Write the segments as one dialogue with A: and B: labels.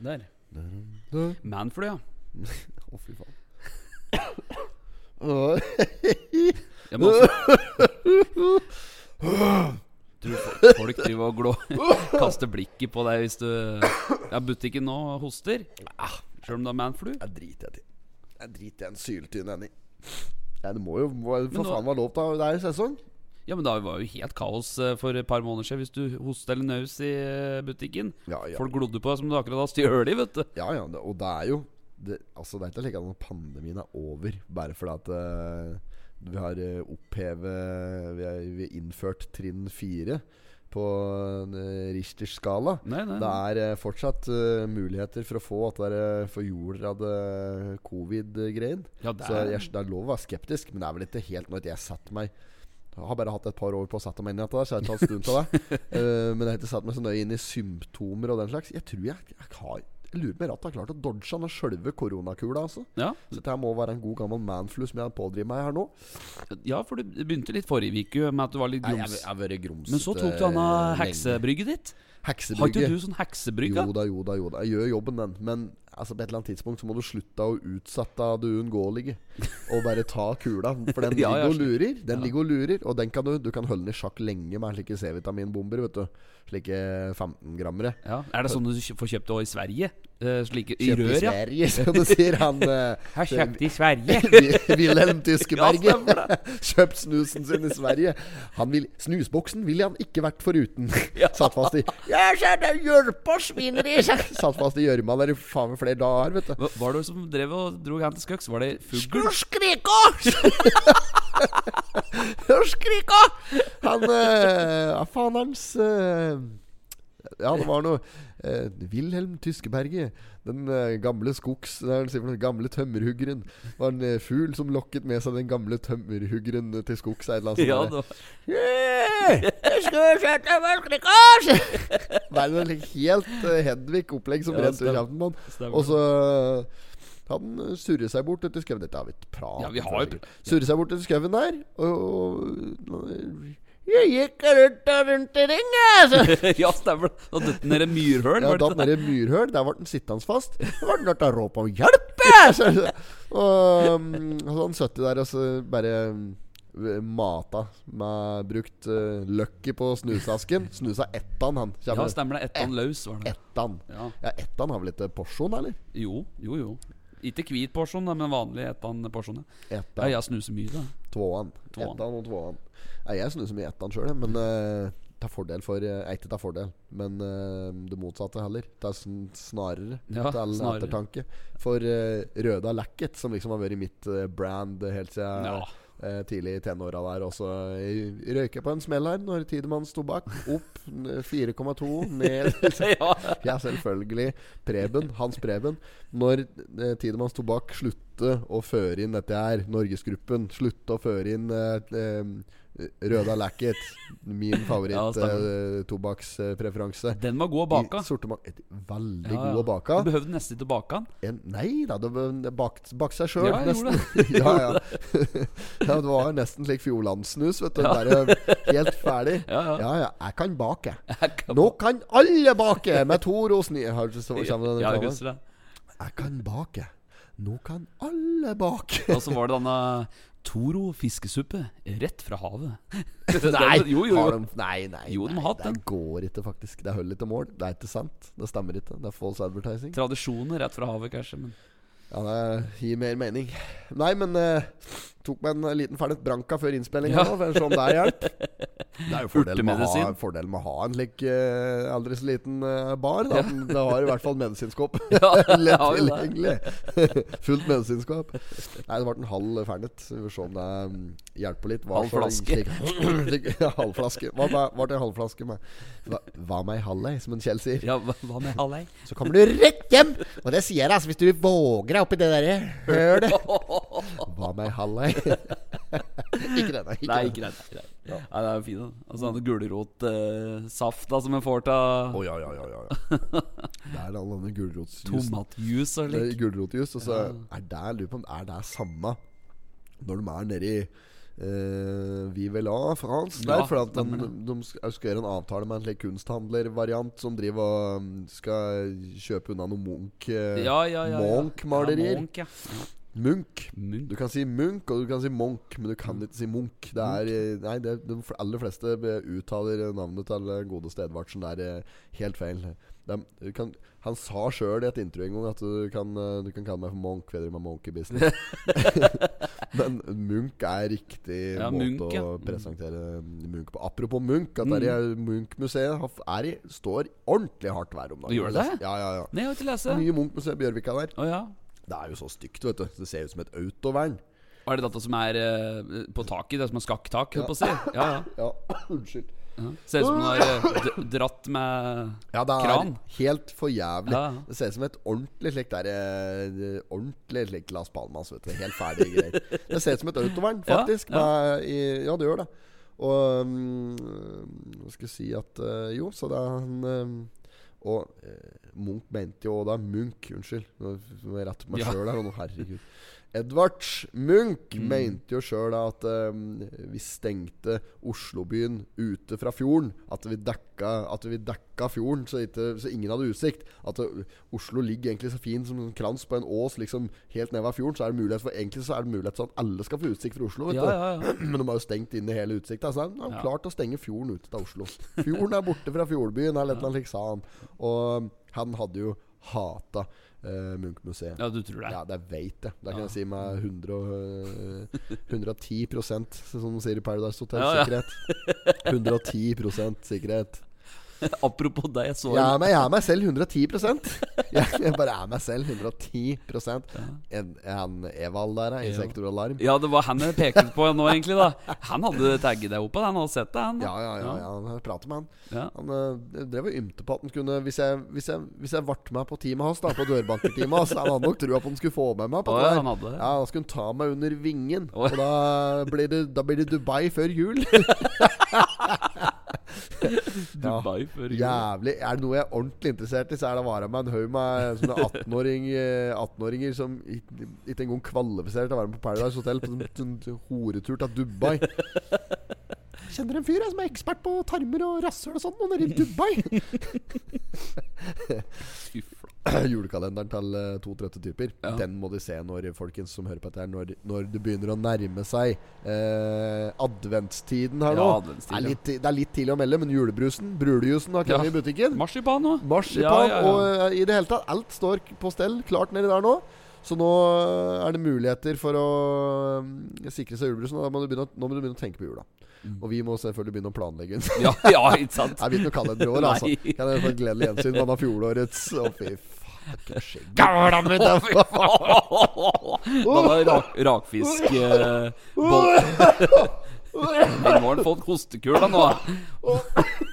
A: Der. Manflu, ja.
B: Å, fy faen. Åh,
A: Jeg må også Tror fo- folk driver og glå kaster blikket på deg hvis du Ja, butikken nå hoster. Sjøl om det er manflu.
B: Jeg driter jeg til. Jeg driter jeg en syltynn en i. Ja, det må jo må, for
A: Men nå-
B: faen være lov til å Det er jo sesong.
A: Ja, men det var jo helt kaos eh, for et par måneder siden hvis du hosta eller naus i eh, butikken.
B: Ja, ja.
A: Folk glodde på deg som du akkurat har stjålet, vet du.
B: Ja, ja, det, og det er jo det, Altså, det er ikke slik at når pandemien er over Bare fordi at eh, vi har eh, opphevet Vi har, vi har innført trinn 4 På uh, Richters skala
A: Nei, nei.
B: Det er eh, fortsatt eh, muligheter for å få At det er eh, for jord av det eh, covid-greien
A: Ja, det
B: Så
A: er,
B: jeg, det er lov å være skeptisk Men det er vel ikke helt noe at jeg setter meg jeg har bare hatt et par år på å sette meg inn i dette der, Så jeg har tatt stund til det Eh, Men jeg har ikke satt meg så nøye inn i symptomer og den slags Jeg tror jeg, jeg, har, jeg lurer på om jeg har klart å dodge han og sjølve koronakula altså.
A: ja.
B: Så dette her må være en god gammel manflu som jeg pådriver meg her nå
A: ja, for du begynte litt forrige uke med at du var litt
B: Nei, jeg,
A: grums.
B: jeg har vært grums eh,
A: Men så tok du denne heksebrygget ditt. Har ikke
B: Heksebrygge
A: du sånn heksebrygge?
B: Jo da, jo da, jo da Jeg gjør jobben den Men altså, på et eller annet tidspunkt så må du slutte å utsette det uunngåelige Og bare ta kula For
A: Ja,
B: den
A: ja,
B: ligger og
A: slik.
B: lurer Den
A: Ja.
B: ligger og lurer Og den kan du Du kan holde den i sjakk lenge med slike C-vitaminbomber vet du Slike 15-grammere
A: Ja. Er det sånn du kjø- får kjøpt det også i Sverige? Eh, Slike i
B: Kjøpt
A: rør,
B: i
A: ja.
B: Sverige, som det sier han eh,
A: Her kjøpte i Sverige.
B: Vi- Wilhelm Tyskeberg.
A: Ja, stemmer
B: Kjøpt snusen sin i Sverige. Han vil, snusboksen ville han ikke vært foruten. Satt fast i Jeg ser det hjelper svineri! Satt fast i gjørma der i faen meg flere dager, vet du.
A: Hva var det som drev og dro hen til Skøks? Var det fugl?
B: Skrika! Skrika! Han eh, Ja, faen hans eh, Ja, det var noe eh, Wilhelm Tyskeberget. Den eh, gamle skogs... Nei, han sier for noe, gamle tømmerhuggeren. Det var en eh, fugl som lokket med seg den gamle tømmerhuggeren eh, til skogs. Et eller annet sånt
A: Ja,
B: der.
A: Altså,
B: Eh,
A: det var
B: Det er noe like helt eh, Hedvig-opplegg som
A: Ja,
B: rent ut
A: stemmer.
B: kjeften på han.
A: stemmer.
B: Og så eh, han surrer seg bort etter skauen. Dette har vi ikke pratet
A: Ja, vi
B: om
A: har jo
B: før,
A: pr-
B: sikkert. Surrer seg bort etter skauen der, og, og Jeg gikk rundt og rundt i ring, jeg. Så.
A: ja, stemmer det. Da døtte den ned i myrhøl.
B: Ja,
A: var
B: datt
A: det
B: ned i myrhøl. Der ble den sittende fast. Da ble den da råp om hjelp! jeg!» Så, og um, så han satt der og så bare um, mata med brukt uh, løkke på snusasken. Snusa ettan, han.
A: Ja,
B: Kjempe-
A: stemmer det. Ettan løs var det.
B: Ettan.
A: Ja.
B: Ja, ettan har vel litt porsjon, eller?
A: Jo, jo, jo. Ikke hvit porsjon, da, men vanlig ettan-porsjon. ja.
B: Ettan,
A: Ja, jeg snuser mye, da.
B: tvåan.
A: Tvåan.
B: Ettan og tvåan. Nei, jeg snuser mye ettan sjøl, men eh, ta fordel for eh, Ikke ta fordel, men eh, det motsatte heller. Ta sn snarere
A: Ja,
B: til
A: snarere.
B: ettertanke. For eh, Røda Lacket, som liksom har vært mitt eh, brand helt siden
A: Ja.
B: eh, tidlig i tenåra der. Og så eh, røyka jeg på en smell her når Tidemanns tobakk opp n- 4,2, ned
A: ja.
B: ja, selvfølgelig. Preben, Hans Preben. Når eh, Tidemanns Tobakk slutter å føre inn dette her, Norgesgruppen Slutte å føre inn eh, eh, Røda Lacket, min eh,
A: Ja, stemmer.
B: favoritt-tobakkspreferanse.
A: Den var god å bake.
B: Veldig
A: Ja, ja.
B: god å bake.
A: Du behøvde nesten ikke å bake den.
B: En, nei da, det var det bakt, bakt seg sjøl,
A: Ja, jeg gjorde
B: nesten. ja, ja. ja, det var nesten slik Fjordlandsnus, vet du. Bare helt ferdig.
A: Ja, ja.
B: ja, ja. Jeg kan bake. Nå kan alle bake med to rosny... Har du- så kommer den
A: ja, jeg
B: reklamen.
A: husker det.
B: Jeg kan bake. Nå kan alle bake.
A: Og så var det denne Toro fiskesuppe rett fra havet.
B: Nei,
A: jo, jo,
B: har
A: jo.
B: De, nei, nei,
A: Jo, de
B: nei,
A: har hatt
B: det
A: den.
B: går ikke, faktisk. Det holder ikke mål. Det er ikke sant. Det stemmer ikke. Det er false advertising.
A: Tradisjoner rett fra havet, kanskje. Men
B: Ja, Det gir mer mening. Nei, men eh, tok meg en eh, liten ferdig branka før innspilling
A: Ja.
B: her nå, for å se om det er hjelp. Det er jo fordelen med, å ha-
A: Urtemedisin.
B: fordelen med å ha en slik eh, aldri så liten eh, bar. Da. Den- Det har i hvert fall medisinskåp.
A: ja,
B: Lett
A: har jo det.
B: tilgjengelig. Fullt medisinskap. Nei, det ble en halv fernet. Vi får se om det mm, hjelper litt.
A: Halv flaske.
B: ja, halv flaske. Hva med- hva til halv flaske med? Hva, hva med ei halv ei, som en Kjell sier.
A: Ja, hva, hva med halvei?
B: Så kommer du rett hjem! Og det sier jeg, altså, hvis du våger deg oppi det derre hølet. Hva med ei halv ei? ikke denne. Ikke
A: Nei,
B: denne.
A: greit. greit. Ja. Nei, det er jo fin, da. Altså den gulrotsafta eh, som en får av
B: Å, ja, ja, ja, ja. ja. Det er all denne gulrotsjusen.
A: tomatjuice og
B: Det er
A: slik.
B: Gulrotjus. Og så er det, jeg lurer på om er det samme når de er nedi eh, Vive la France
A: Ja,
B: der. For at de,
A: stemmer
B: de skal, skal gjøre en avtale med en slik kunsthandlervariant som driver og mm, skal kjøpe unna noen Munch. eh,
A: Ja, ja, ja, ja.
B: Munch-malerier.
A: Ja, Munch, ja.
B: Munch.
A: Munch.
B: Du kan si Munch og du kan si Munch, men du
A: Mm.
B: kan ikke si Munch. Det er, eh, nei, det, de fl- aller fleste eh, uttaler navnet til eh, godeste Edvardsen der eh, helt feil. De, du kan, han sa sjøl i et intervju en gang at du kan, eh, du kan kalle meg for Munch. Jeg driver med Munch i business. men Munch er riktig
A: Ja,
B: måte
A: Munch,
B: å
A: ja. Mm.
B: presentere Munch på. Apropos Munch, at der i Munch-museet har- er i- står ordentlig hardt vær om dagen.
A: Gjør det?
B: Ja, ja, ja.
A: Nei, jeg har ikke lest
B: Det
A: det.
B: nye Munch-museet Bjørvika der.
A: Å ja.
B: Det er jo så stygt, vet du. Det ser ut som et autovern.
A: Er det dette som er eh, på taket? Det er som er skakktak, holdt på å si. Ja, ja.
B: Ja, unnskyld.
A: ja. Ser ut som den har eh, d- dratt med
B: Ja, det er
A: Kran.
B: helt for jævlig.
A: Ja, ja.
B: Det ser ut som et ordentlig slikt der eh, Ordentlig slikt Las Palmas, vet du. Helt ferdige greier. Det ser ut som et autovern,
A: Ja,
B: faktisk.
A: ja.
B: med- i- ja, det gjør det. Og mm, Hva skal jeg si at eh, Jo, så det er han eh, og eh, Munch mente jo da Munch, unnskyld. Nå må jeg rette på meg
A: Ja. Mm.
B: selv sjøl her. og nå, Herregud. Edvard Munch mente jo sjøl at eh, vi stengte Oslobyen ute fra fjorden. At vi dekka, at vi dekka fjorden så, ikke, så ingen hadde utsikt. At eh, Oslo ligger egentlig så fint som en krans på en ås liksom helt ned ved fjorden. Så er det mulighet for egentlig så er det mulighet sånn at alle skal få utsikt fra Oslo. Vet
A: Ja,
B: du.
A: ja, ja.
B: Men de har jo stengt inne hele utsikta. Så de har
A: Ja.
B: klart å stenge fjorden ute til Oslo. Fjorden er borte fra fjordbyen, eller et eller annet slikt, sa han. Og um, han hadde jo hata eh, Munch-museet.
A: Ja, du tror det.
B: Ja, det veit jeg. Det kan
A: Ja.
B: jeg si med 100 og, eh, 110 som de sier i Paradise Hotel.
A: Ja, ja.
B: Sikkerhet. 110 sikkerhet.
A: Apropos deg, jeg så
B: Jeg er, meg, jeg er meg selv 110 Jeg, jeg bare er meg selv 110 En, en Evald der, eh,
A: Ja.
B: Insektor Alarm.
A: Ja, det var han jeg pekte på nå, egentlig. da Han hadde tagget deg opp på det. Han hadde sett det, han. da.
B: Ja, ja, ja. ja. Jeg prater med han.
A: Ja.
B: Han eh, drev og ymte på at han kunne Hvis jeg, hvis jeg, hvis jeg vart meg på teamet hans, da på dørbankerteamet hans, han hadde nok trua på at han skulle få med meg. På
A: Å,
B: det
A: ja,
B: der.
A: han hadde det.
B: Ja, Da skulle han ta meg under vingen,
A: Å.
B: og da blir, det, da blir det Dubai før jul.
A: Dubai før jul.
B: Jævlig Er det noe jeg er ordentlig interessert i, så er det å være med en haug med sånne 18-åring, eh, 18-åringer som ikke ikke engang kvalifiserer til å være med på Paradise Hotel på en sånn horetur til Dubai. Kjenner en fyr jeg, som er ekspert på tarmer og rasshøl og sånn, og nede i Dubai.
A: Fy fla-
B: julekalenderen til eh, to trøtte typer.
A: Ja.
B: Den må de se når folkens som hører på dette her når, når det begynner å nærme seg eh, adventstiden
A: Ja,
B: her nå.
A: adventstid,
B: Det er,
A: ja.
B: litt, det er litt tidlig å melde, men julebrusen, bruljusen, har kommet
A: Ja.
B: i butikken.
A: Marsipan nå.
B: Marsipan
A: Ja, ja, ja.
B: og eh, i det hele tatt. Alt står på stell, klart nedi der nå. Så nå eh, er det muligheter for å eh, sikre seg julebrusen. Og da må du begynne, å- nå må du begynne å tenke på jula.
A: Mm.
B: Og vi må selvfølgelig begynne å planlegge.
A: Ja, ja, ikke sant?
B: Jeg vil ikke kalle det et år,
A: Nei.
B: altså. Kan jeg få et gledelig gjensyn med han av fjorårets? Å, fy faen. skjegg.
A: Gamla mitt, da! var rak, rakfisk eh, boll. Men nå har han fått hostekula nå.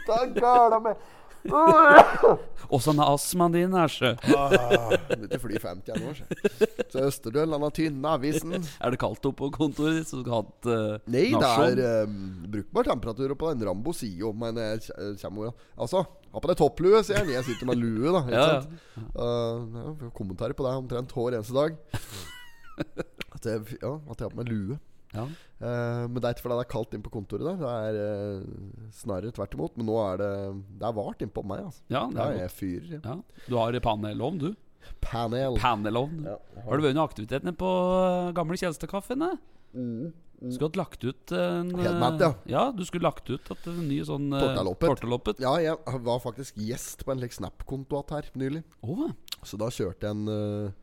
B: Ta gala med
A: Åssen er astmaen din, her, sjø?
B: Begynte å fly 50 jeg nå, så. Så Østerdøl, han har tynne avisen.
A: Er det kaldt oppe på kontoret ditt? Så du har hatt eh,
B: Nei, det
A: nasjon?
B: er eh, brukbar temperatur på den. Rambo sier jo, men jeg kj- eh, kommer jo Altså, ha på deg topplue, sier han. Jeg sitter med lue, da. Ikke
A: Ja, ja.
B: sant? Eh, ja, vi har kommentarer på det omtrent hver eneste dag. At jeg, ja, at jeg har på meg lue.
A: Ja.
B: Eh, men det er ikke fordi det er kaldt inn på kontoret der. Det er eh, snarere tvert imot. Men nå er det Det er vart innpå meg, altså.
A: ja, det
B: Ja,
A: er godt.
B: jeg fyrer. Ja.
A: Ja. Du har panelovn, du?
B: Panel.
A: Panelovn.
B: Ja.
A: Har du vært noen aktivitet nede på eh, gamle Kjelstadkaffen? eh?
B: Mm.
A: Skulle hatt lagt ut en eh,
B: Helt matt, ja.
A: Ja, du skulle lagt ut at en ny sånn eh,
B: Tortaloppet.
A: tortaloppet.
B: Ja, jeg var faktisk gjest på en like, Snap-konto att her nylig.
A: Åh,
B: Så da kjørte jeg en eh,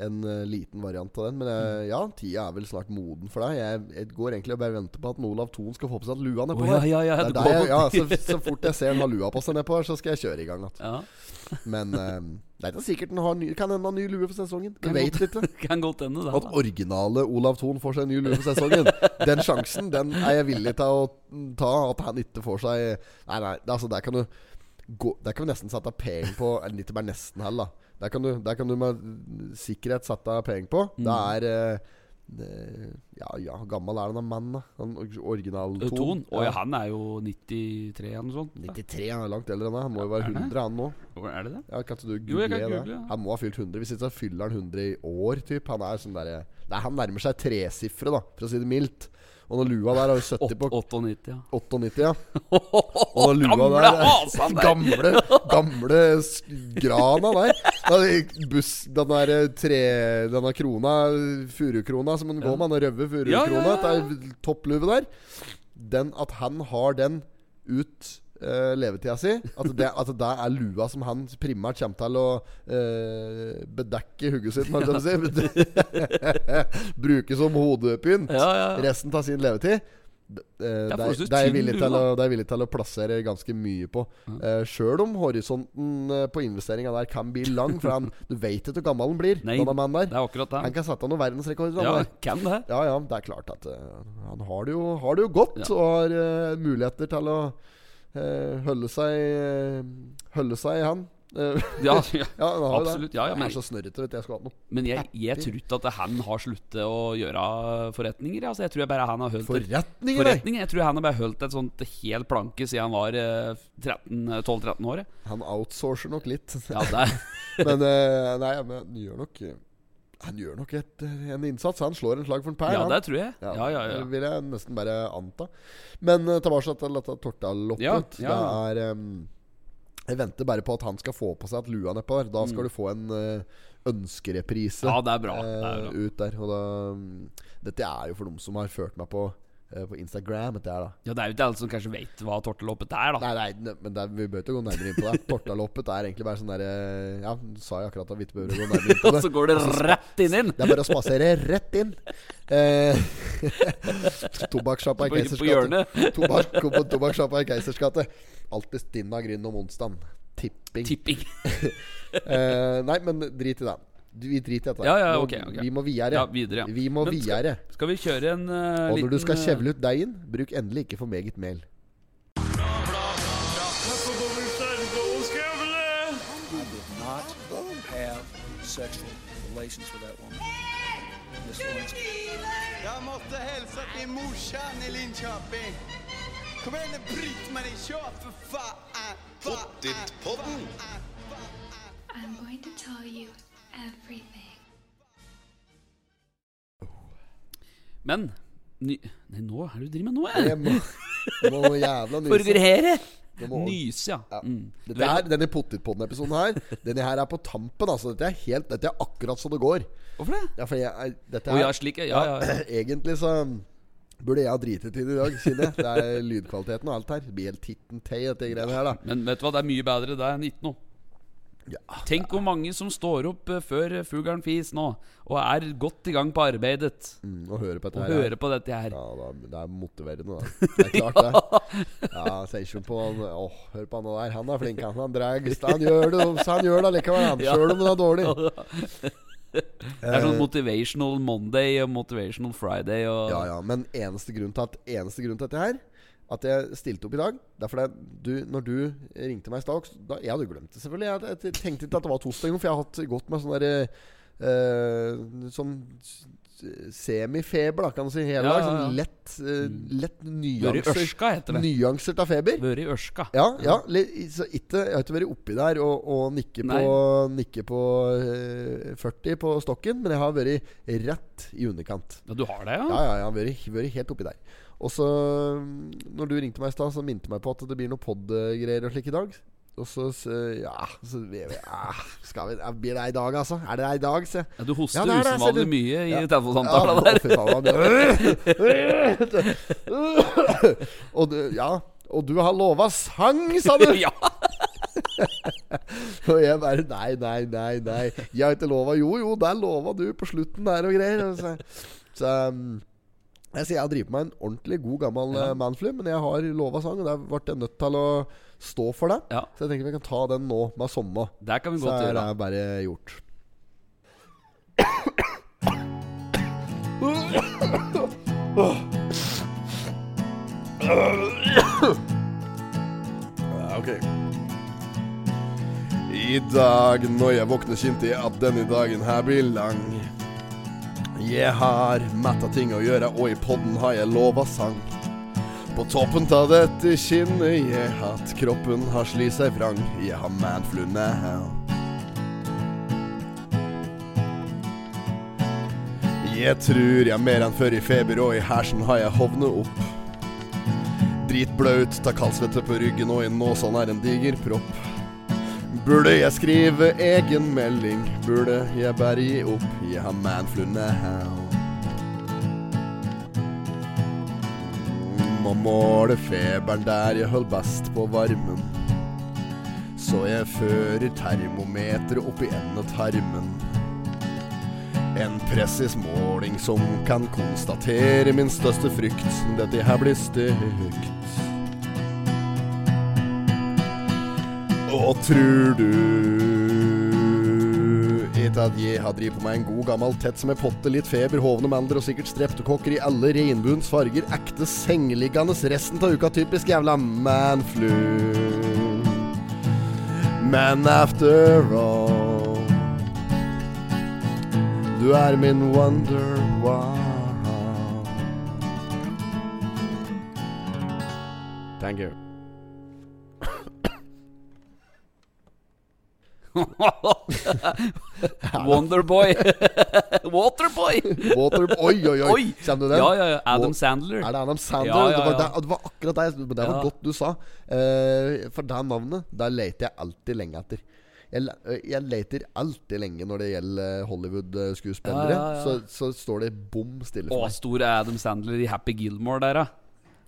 B: en eh, liten variant av den. Men
A: Mm.
B: jeg, ja, tida er vel snart moden for deg. Jeg, jeg går egentlig og bare venter på at en Olav Thon skal få på seg at lua nedpå
A: Å, ja, ja, ja,
B: der. Det
A: det
B: er der jeg,
A: går
B: ja,
A: mot
B: så, så fort jeg ser han har lua på seg nedpå her, så skal jeg kjøre i gang igjen.
A: ja.
B: Men eh, det er ikke sikkert han har ny, kan hende han har ny lue for sesongen.
A: Kan
B: Du vet ikke.
A: Kan godt hende, det.
B: At originale Olav Thon får seg en ny lue for sesongen. Den sjansen den er jeg villig til å ta. At han ikke får seg Nei, nei, altså der kan du gå, Der kan vi nesten sette penger på eller Litt mer nesten heller, da. Der kan, du, der kan du med sikkerhet sette penger på. Det
A: Mm.
B: er eh, det- Ja, ja, gammel er han av mann, da? Han original
A: da.
B: Thon.
A: Ton. Å ja, han er jo 93 eller noe sånt.
B: 93, han er langt eldre enn deg. Han må jo være
A: Er han
B: 100, han nå.
A: Hvor Er det det?
B: Ja, kan ikke du
A: Jo,
B: google
A: jeg kan
B: det?
A: google, ja.
B: Han må ha fylt 100. Hvis ikke så fyller han 100 i år, typ. Han er sånn derre Nei, han nærmer seg tresifre, da, for å si det mildt. Og den lua der har jo 70 på
A: 98, ja.
B: 98, ja. Og den lua
A: Gamle
B: der
A: hasen der!
B: Gamle, gamle s- grana der. Da de Buss, den der eh, tre Denne krona, furukrona som den går med, den røde
A: Ja, ja,
B: furukrona,
A: ja, ja.
B: ja. toppluve der Den at han har den ut eh, levetida si. At det, at det er lua som han primært kommer til å eh, bedekke hugget sitt med. Ja. Bruke som hodepynt
A: Ja, ja.
B: resten av sin levetid. d- eh, Det er,
A: forholdsvis
B: det er jeg
A: tynn
B: villig
A: lue,
B: til, å,
A: da.
B: det er jeg villig til å plassere ganske mye på. Eh, Sjøl om horisonten eh, på investeringa der kan bli lang, for han, du veit ikke hvor gammel han blir.
A: Nei,
B: denne mannen
A: Det
B: der
A: er akkurat
B: Han
A: det.
B: kan sette noen verdensrekorder.
A: Ja,
B: han der.
A: kan det.
B: Ja, ja, det er klart at eh, han har det jo, har det jo godt
A: Ja.
B: og har eh, muligheter til å eh, holde seg eh, Holde seg, han. Eh,
A: Ja, ja.
B: ja, han har jo det.
A: Absolutt, ja, ja,
B: Han
A: men-
B: er så snørrete, vet du. Jeg skulle hatt noe.
A: Men jeg, jeg tror ikke at han har sluttet å gjøre forretninger. Altså, jeg tror bare han har holdt et-
B: Forretninger, nei!
A: forretninger. Jeg tror han har bare holdt et sånt helt planke siden han var eh, 13, 12-13 år. jeg.
B: Han outsourcer nok litt.
A: Ja, det er,
B: Men eh, nei, men han gjør nok Han gjør nok et, en innsats. Han slår en slag for en pæl.
A: ja,
B: han.
A: det tror jeg. Ja, ja, ja.
B: Det vil jeg nesten bare anta. Men eh, tilbake til dette tortaloppet.
A: Ja, ja.
B: Det er em, Jeg venter bare på at han skal få på seg at lua nedpå der. Da skal du få en eh, ønskereprise
A: Mm. Ja, det er bra. Det er
B: eh,
A: bra.
B: ut der. Og da mm, Dette er jo for dem som har ført meg på eh, på Instagram. Dette er da
A: Ja, det er jo ikke alle som kanskje vet hva torteloppet er, da.
B: Nei, nei, ne- men det er, vi bør ikke gå nærmere inn på det. Tortaloppet er egentlig bare sånn derre Ja, sa jeg akkurat at vi ikke behøver å gå nærmere inn på
A: Og
B: det.
A: så går det rett inn inn!
B: Det er bare å spasere rett inn. Eh, Tobakkssjappa
A: På,
B: i
A: på
B: Keisersgate.
A: hjørnet.
B: Tobakk på tobakkssjappa i Keisersgate. Alltid stinn av gryn om onsdagen. Tipping.
A: Tipping.
B: Eh, nei, men drit i det. Du, Vi driter i dette.
A: Ja, ja,
B: Nå-
A: ok, ok.
B: Vi må videre.
A: Ja, videre. ja.
B: Vi må
A: Men skal-
B: videre.
A: Skal vi kjøre en eh,
B: Og
A: liten
B: når du skal
A: eh,
B: kjevle ut deigen, bruk endelig ikke for meget mel.
C: I did not have sexual relations with that woman. Miss Lewinsky.
D: Jeg måtte hilse til morsan i Linköping. Kom igjen, Britt-Marie, kjør for faen! Pottit-podden!
E: I'm going to tell you everything.
A: Men ny, Nei, nå er det du driver med nå,
B: Jeg
A: jeg!
B: må, jeg må jævla nyse.
A: Forgurere!
B: Det må-
A: Nyse, ja.
B: Ja.
A: Mm.
B: Dette her, denne potetpodden-episoden her Denne her er på tampen. altså Dette er helt Dette er akkurat så det går.
A: Hvorfor det?
B: Ja, for jeg, er- dette
A: Å
B: her,
A: ja, slik, ja. ja, ja.
B: Egentlig så burde jeg ha driti til det i dag, kjenner jeg. Det er lydkvaliteten og alt her. Det blir helt titten tei, dette greiene her, da.
A: Men vet du hva, det er mye bedre det enn ikke noe. Tenk hvor mange som står opp eh, før fuglen fis nå, og er godt i gang på arbeidet.
B: Mm, å høre på dette
A: Og
B: her.
A: hører på dette her.
B: Ja, da, det er motiverende, da. Det er klart, det. Ja, Ser ikke på han Åh, hør på han der. Han er flink, han. Han drar Han gjør det så han gjør det likevel, han.
A: Ja.
B: Sjøl om det er dårlig.
A: Det er sånn motivational Monday og motivational Friday og
B: Ja, ja, men eneste grunn til at Eneste grunn til dette her At jeg stilte opp i dag Det er fordi du, når du ringte meg i stad da, Jeg hadde jo glemt det selvfølgelig Jeg, jeg tenkte ikke at det var torsdag engang, For jeg har hatt gått med sånn der eh, Sånn s- Semifeber da, kan du si Hele
A: Ja,
B: dag
A: ja, ja.
B: Sånn lett eh, Lett
A: Vært i
B: nyanser
A: ørska, heter det.
B: Nyanser til feber
A: Vært i ørska.
B: ja, ja, li- så ikke, jeg har ikke vært oppi der og, og nikke på, nikke på eh, 40 på stokken Men jeg har vært rett i underkant
A: Ja, du har det, ja?
B: ja, ja, ja, vært, vært helt oppi der. Og så, mm, når du ringte meg i stad, så minte meg på at det blir noe pod-greier og slik i dag. Og så, så ja så, vi- vi- ah, skal vi, ja, Blir det i dag, altså? Er det i dag, se?
A: Ja, Du hoster
B: Ja, det er det, ser
A: usedvanlig
B: du.
A: mye i
B: Ja.
A: telefonsamtalen der.
B: fy faen, han blir- og du, ja Og du har lova sang, sa du!
A: Ja,
B: Og jeg bare Nei, nei, nei. nei Jeg har ikke lova Jo, jo, der lova du på slutten der og greier. Og Så, så um, jeg sier jeg driver med en ordentlig god gammel ja. manflu, men jeg har lova sang, og der ble jeg nødt til å stå for det.
A: Ja.
B: Så jeg tenker vi kan ta den nå, med samme.
A: der kan vi
B: Så
A: godt
B: er det
A: gjøre.
B: bare gjort. Ja, ok. I dag når jeg våkner, kjente jeg at denne dagen her blir lang. Jeg har matt av ting å gjøre, og i podden har jeg lova sang. På toppen av dette kinnet jeg hatt, kroppen har sli seg vrang. Jeg har manflu now. Jeg trur jeg mer enn før i feber, og i hersen har jeg hovnet opp. Dritblaut, tar kaldsvette på ryggen, og i nåsan er en diger propp. Burde jeg skrive egen melding? Burde jeg bare gi opp? Jeg har manflu now. Må måle feberen der jeg holder best på varmen. Så jeg fører termometeret opp i enden av tarmen. En presis måling som kan konstatere min største frykt. Dette her blir stygt. Og tror du ikke at jeg har drevet på meg en god gammel tett som er potte, litt feber, hovne mandler og sikkert streptokokker i alle regnbuens farger, ekte sengeliggende resten av uka, typisk jævla manflu. Men after all Du er min wonder wow. Thank you.
A: Wonderboy. Waterboy.
B: Water... Oi, oi, oi.
A: Oi.
B: Kjenner du den?
A: Ja, ja, ja. Adam
B: Wa-
A: Sandler.
B: Er det Adam Sandler?
A: Ja, ja,
B: Det, var,
A: ja.
B: der- det var akkurat det jeg- men Det var
A: Ja.
B: godt du sa. Eh, for det navnet Der leter jeg alltid lenge etter. Jeg, le- eh, jeg leter alltid lenge når det gjelder eh, Hollywood-skuespillere.
A: Ja, ja, ja.
B: så, så står det bom stille
A: Å,
B: for meg.
A: stor er Adam Sandler i Happy Gilmore der, ja.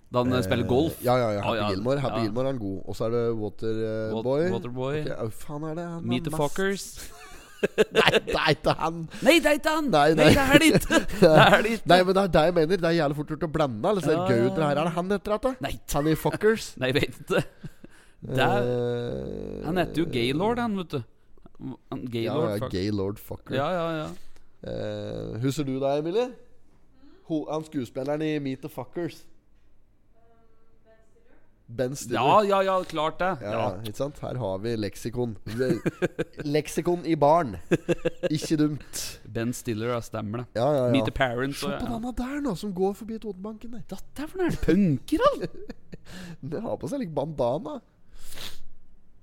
A: Da han eh, spiller golf.
B: Ja, ja, ja. Happy
A: Å, ja.
B: Gilmore Happy
A: Ja.
B: Gilmore er en god. Og så er det Waterboy.
A: Wat-
B: Boy
A: Waterboy.
B: Ok, Hva faen er det? han er
A: Meet the
B: mest-
A: fuckers.
B: Nei, det er ikke han!
A: Nei, det er ikke han!
B: Nei, nei.
A: det er det ikke! Det er det ikke.
B: Nei, men det er det jeg mener. Det er jævlig fort gjort å blande. Eller så er det
A: Ja,
B: gøy
A: ja,
B: ut det her. Er det han heter dette?
A: Nei.
B: Han i Fuckers?
A: Nei, jeg vet ikke. Det er, han heter jo Gaylord, han, vet du. Han-
B: Gaylord,
A: Gaylord,
B: Eh, ja, ja,
A: fuck.
B: Gaylord Fucker.
A: Ja, ja, ja.
B: Eh, husker du deg, Emilie? Ho han skuespilleren i Meet the Fuckers. Ben Stiller.
A: Ja, ja, ja, klart det.
B: Ja,
A: Ja.
B: ikke sant? Her har vi leksikon. Det- leksikon i baren. Ikke dumt.
A: Ben Stiller, ja, stemmer det.
B: Ja, ja, ja.
A: Meet the Parents
B: Se
A: og ja.
B: på denne der, nå, som går forbi Totenbanken. der. Da-
A: Dette er for noe er det punker, han!
B: Den har på seg litt bandana.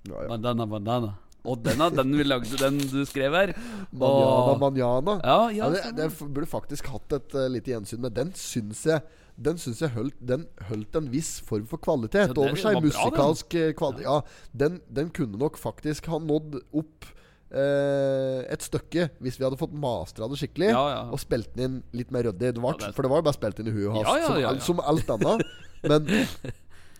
B: Ja, ja.
A: Bandana, bandana. Og denne, den vi lagde, den du skrev her.
B: Manjana,
A: Åh.
B: manjana.
A: Ja, ja,
B: det,
A: stemmer.
B: det f- burde faktisk hatt et eh, lite gjensyn med. Den syns jeg Den syns jeg holdt, den holdt en viss form for kvalitet
A: det
B: over seg.
A: var bra, den.
B: Musikalsk eh, kvali Ja, den, den kunne nok faktisk ha nådd opp eh, et stykke hvis vi hadde fått mastra det skikkelig
A: Ja, ja.
B: og spilt den inn litt mer ryddig. Det var,
A: Ja, det-
B: For det var jo bare spilt inn i huet hans,
A: Ja, ja,
B: som,
A: ja,
B: al-
A: ja.
B: som alt annet. Men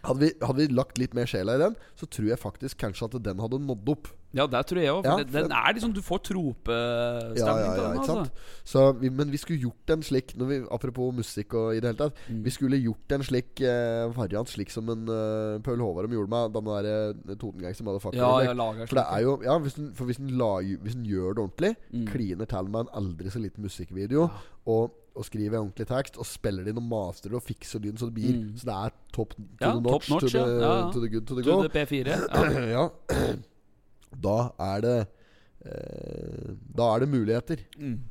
B: hadde vi, hadde vi lagt litt mer sjela i den, så tror jeg faktisk kanskje at den hadde nådd opp.
A: Ja, det tror jeg òg.
B: Ja,
A: For det- den er liksom Du får tropestemning
B: Ja, ja,
A: på
B: ja,
A: den.
B: ikke
A: Altså.
B: sant? Så vi, men vi skulle gjort en slik når vi, Apropos musikk og i det hele tatt.
A: Mm.
B: Vi skulle gjort en slik eh, variant, slik som en eh, Paul Håvard om gjorde med den der eh, Totengang som hadde fucker.
A: Ja,
B: og
A: jeg
B: slik.
A: lager sånn
B: for det er jo Ja, hvis den, for hvis den, la, hvis den gjør det ordentlig,
A: Mm.
B: kliner til med en aldri så liten musikkvideo og, og skriver ordentlig tekst, og spiller det inn og master det og fikser lyden så det blir Så det er top to
A: Mm. Ja,
B: the
A: top
B: notch,
A: notch,
B: to,
A: ja.
B: the,
A: Ja, ja.
B: to the good, to the
A: To
B: go.
A: the P4. Ja.
B: ja. Da er det eh, Da er det muligheter.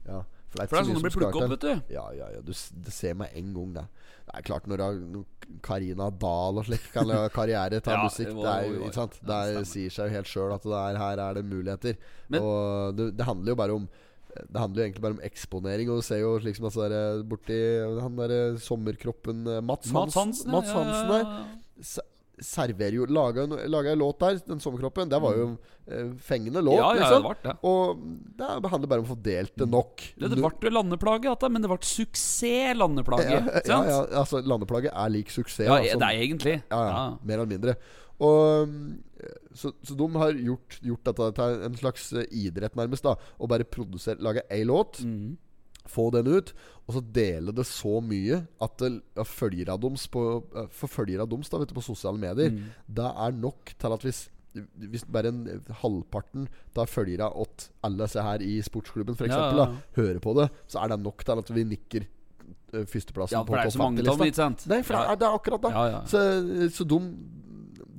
B: Ja. For
A: Mm. For det er sånn det blir plukket opp, vet du.
B: Ja, ja, ja. Du, s- det ser meg en gang, det. Det er klart, når da- når Karina Dahl og slikt kan lage karriere, ta
A: Ja,
B: musikk
A: jo,
B: Det, er,
A: jo,
B: jo,
A: jo,
B: ikke sant? det
A: ja,
B: er,
A: stemmer.
B: sier seg jo helt sjøl at det er, her er det muligheter.
A: Men-
B: og det, det handler jo bare om det handler jo egentlig bare om eksponering. Og du ser jo liksom altså der, borti han derre sommerkroppen eh, Mats,
A: Mads
B: Hansen,
A: Hansen,
B: Mats
A: ja, ja,
B: Hansen
A: ja,
B: der
A: ja.
B: se- serverer jo Laga en, laga en låt der, den sommerkroppen. Det var jo eh, fengende låt,
A: Mm. Ja, ja, det
B: liksom.
A: vart det. Mm.
B: Og det er- det handler bare om å få delt det nok.
A: Det, det ble jo landeplage, dette, men det ble suksess-landeplage.
B: ja,
A: ikke
B: ja,
A: sant?
B: ja, altså Landeplaget er lik suksess.
A: Ja,
B: altså.
A: det er egentlig.
B: ja, ja, Mer eller mindre. Og mm, så, så de har gjort, gjort dette til en slags eh, idrett, nærmest. da Å bare produsere, lage ei låt,
A: Mhm.
B: få den ut, og så dele det så mye at det, ja, følgere av doms på, eh, For følgere av doms da, vet du, på sosiale medier,
A: Mm.
B: det er nok til at hvis hvis bare en halvparten tar følgere åt alle disse her i sportsklubben, f.eks.,
A: Ja,
B: eksempel
A: ja,
B: da hører på det, så er det nok til at vi nikker eh, førsteplassen
A: Ja, for
B: på
A: det er
B: topp
A: så mange av dem,
B: 50-lista.
A: ikke sant?
B: Nei, for det,
A: Ja.
B: er, det er akkurat det.
A: Ja, ja.
B: Så, så de,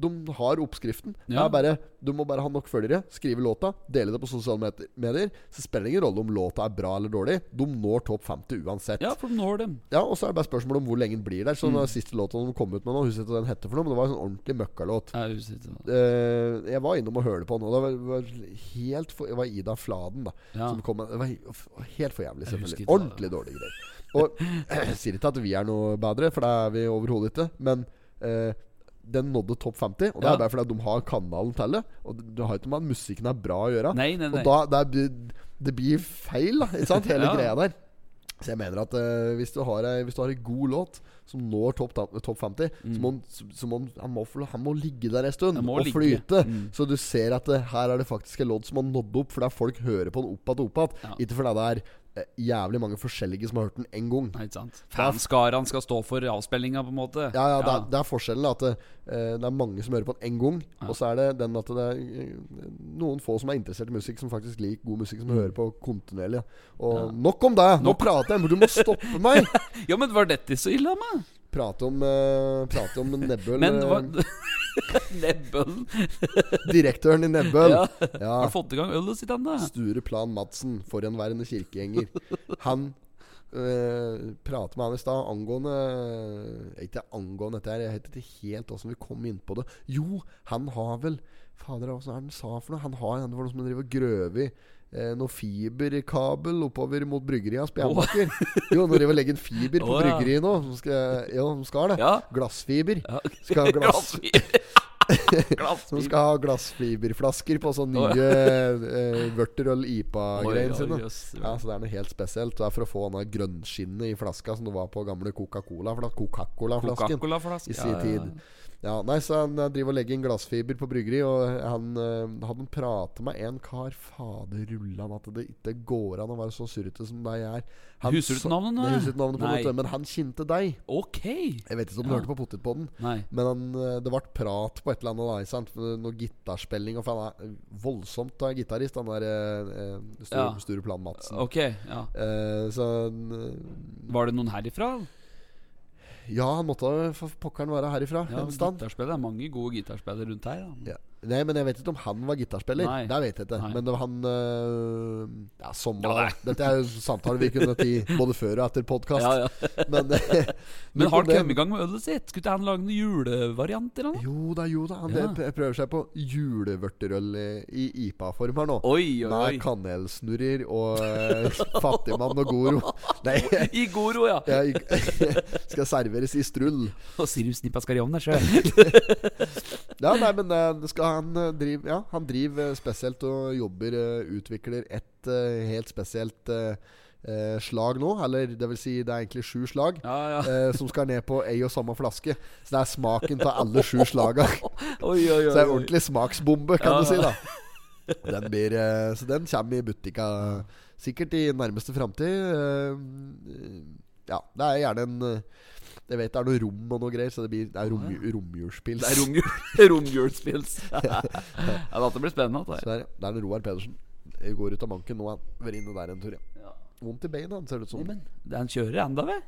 B: de har oppskriften. Det
A: Ja.
B: er bare Du må bare ha nok følgere, skrive låta, dele det på sosiale met- medier. Så spiller det ingen rolle om låta er bra eller dårlig. De når topp 50 uansett.
A: Ja, Mm. for de når dem.
B: Ja, Og så er det bare spørsmål om hvor lenge den blir der. Så den siste låta de kom ut med nå, husker jeg ikke hva den hette for noe, men det var en sånn ordentlig møkkalåt.
A: Jeg husker ikke hva-
B: Eh, jeg var innom og hørte på den, og det var, var helt for Det var Ida Fladen, da.
A: Ja.
B: Som kom med Det var he- f- helt for jævlig,
A: Jeg husker
B: selvfølgelig.
A: ikke hva det
B: Ordentlig dårlige greier. Og jeg sier ikke at vi er noe bedre, for det er vi overhodet ikke. Men eh, den nådde topp 50, og det
A: Ja.
B: er bare fordi at de har kanalen til det. Og det- det har ikke med at musikken er bra å gjøre.
A: Nei, nei, nei.
B: Og da det blir det blir feil, da. Ikke sant? Hele
A: Ja.
B: greia der. Så jeg mener at eh, hvis, du har ei, hvis du har ei god låt som når topp ta- topp 50, så må, han, så, så må han, han, må, få- han må ligge der en stund
A: Mm. Han må
B: og
A: ligge. Mm.
B: flyte. Så du ser at det, her er det faktisk en låt som har nådd opp, fordi folk hører på den opp igjen og opp igjen.
A: Ja.
B: Ikke fordi det er eh, jævlig mange forskjellige som har hørt den én gang.
A: Nei, ikke sant. Fanskaraen skal stå for avspillinga, på en måte.
B: Ja, ja, Det, er, det er forskjellen. At det, eh, det er mange som hører på den én gang. Og så er det den at det er eh, noen få som er interessert i musikk, som faktisk liker god musikk, som
A: Mm.
B: hører på kontinuerlig. Og nok om det! Nå prater jeg! men Du må stoppe meg!
A: Ja, men var dette så ille av meg?
B: Prate om, eh, prate om Nebbøl.
A: Men
B: eh,
A: hva Nebbøl.
B: direktøren i Nebbøl.
A: Ja.
B: Ja.
A: Har du fått i gang ølet sitt ennå?
B: Sture Plan Madsen, forhenværende kirkegjenger. Han eh, prater med han i stad angående eh, Ikke angående dette her, jeg vet ikke helt åssen vi kom inn på det. Jo, han har vel Fader, hva er det han sa for noe? Han har en for noe som han driver og grøver i. Eh, noe fiberkabel oppover mot bryggeriet hans på Jernbaker. Jo, nå driver jeg og legger en fiber på
A: Å, ja.
B: bryggeriet nå. Som skal, jo, de skal det.
A: Ja.
B: Glassfiber. Skal ha glass, som
A: Glassbil.
B: skal ha glassfiberflasker på sånne
A: Å,
B: nye eh, vørterøl IPA-greiene
A: Oi,
B: sine.
A: oi, jøss.
B: Ja, så Det er noe helt spesielt. Det er for å få denne grønnskinnet i flaska som det var på gamle Coca-Cola. fla- Coca-Cola-flasken
A: Coca-Cola-flaske.
B: i sin tid. Ja, nei, Så han eh, driver og legger inn glassfiber på bryggeri, og han, eh, han prater med en kar Fader rullan at det ikke går an å være så surrete som deg er.
A: Husker du
B: sa-
A: ikke navnet nå,
B: Nei, husker du ikke navnet på
A: nei?
B: noe, men han kjente deg.
A: Ok.
B: Jeg vet ikke om du
A: Ja.
B: hørte på Potetpodden.
A: Nei.
B: Men han, eh, det ble prat på et eller annet, da, ikke sant? Med noe gitarspilling. Og for han er voldsomt eh, gitarist, han der eh, eh, Sture,
A: Ja.
B: Sture Plan Madsen.
A: Ok, ja.
B: Eh, så eh,
A: Var det noen herifra?
B: Ja, han måtte da for pokkeren være herifra
A: Ja,
B: en stand.
A: gitarspiller. Det er mange gode gitarspillere rundt her. Da.
B: Ja. Nei, men jeg vet ikke om han var gitarspiller.
A: Nei.
B: Det vet jeg ikke.
A: Nei.
B: Men det var han øh, Ja, sommer da. Dette er jo samtaler vi kunne tatt i både før og etter podkast.
A: Ja, ja.
B: Men,
A: Men har han
B: det-
A: kommet i gang med ølet sitt? Skulle ikke han lage noen julevarianter? eller noe?
B: Jo da, jo da. Han
A: Ja.
B: det prøver seg på julevørterøl i- i IPA-form her nå.
A: Oi, oi,
B: Med
A: oi.
B: kanelsnurrer og øh, fattigmann og goro. Nei,
A: I god ro, ja.
B: jeg, skal serveres i strull.
A: Og sirupsnippa skal i ovnen der sjøl.
B: Ja, nei, men eh, det skal han eh, drive Ja, han driver eh, spesielt og jobber eh, Utvikler et eh, helt spesielt eh, eh, slag nå Eller det vil si det er egentlig sju slag
A: Ja, ja.
B: eh, Som skal ned på ei og samme flaske Så det er smaken til alle sju slagene
A: Oi, oi, oi.
B: Så det er ordentlig smaksbombe kan
A: Ja,
B: du si
A: ja.
B: da den blir, eh, Så den kommer i butikka Sikkert i nærmeste fremtid eh, Ja, det er gjerne en eh, Jeg vet det er noe rom og noe greier Så det, blir, det er rom, romjulspils
A: Det er romjul- romjulspils. ja, dette blir spennende.
B: Så
A: Dette. her.
B: der, ja. Der er det Roar Pedersen. Jeg går ut av banken nå. Han vært inne der en tur, ja. Vondt i beina, han ser det ut som.
A: Men han kjører enda, ved.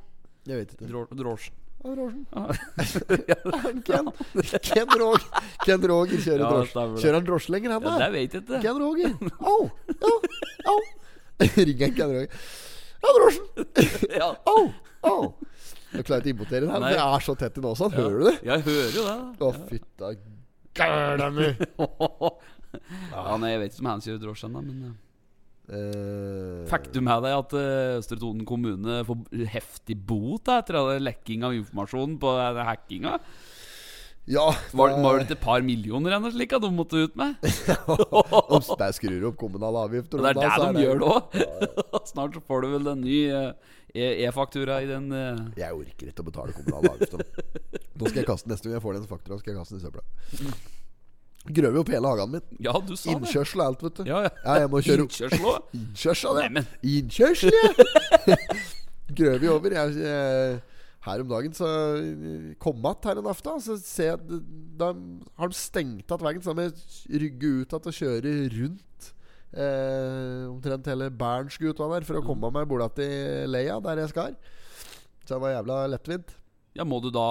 B: Jeg vet ikke.
A: Drå- Drosjen.
B: Ja, Rogersen.
A: Ja,
B: Ken, Rog. Ken Roger kjører
A: Ja,
B: drosje.
A: stemmer det.
B: Kjører han drosje lenger, han
A: det
B: da?
A: vet jeg ikke.
B: Ken Roger. Au! Au! Au! Ringer Ken Roger. Ja, drosjen!
A: Ja.
B: Au! Au! Du klarer ikke å importere den her.
A: Nei.
B: Det er så tett i nå, sånn. Hører du det?
A: Jeg hører jo det. da.
B: Å, fytta gæla mi!
A: Ja, nei, Jeg vet ikke om han kjører drosje ennå, men eh,
B: Eh,
A: Fikk du med deg at eh, Østre Toten kommune får heftig bot da, etter all lekking av informasjon på eh, hackinga?
B: Ja.
A: Var, var det et par millioner eller noe slikt at de måtte ut med?
B: De de skrur opp kommunale avgifter.
A: Og det er
B: og da,
A: der
B: så
A: de gjør det òg! Snart så får du vel en ny eh, e- e-faktura i den eh,
B: Jeg orker ikke å betale kommunale avgifter. Nå skal jeg kaste den neste gang jeg får den faktura. Skal jeg kaste den i søpla Grøver opp hele hagen min.
A: Ja, du sa det!
B: Innkjørsel og alt, vet du.
A: Ja, ja.
B: Ja, jeg må kjøre opp
A: Innkjørsel òg?
B: Innkjørsel, ja.
A: Neimen.
B: Innkjørsel, ja! Grøver jo over. Jeg, jeg, her om dagen så eh, kom jeg att her en aften, så ser jeg at Da har de stengt att veien, så da må jeg rygge ut igjen og kjøre rundt. Eh, omtrent hele Bernsguta der for å komme meg borda til leia, der jeg skal. Så det var jævla lettvint.
A: Ja, må du da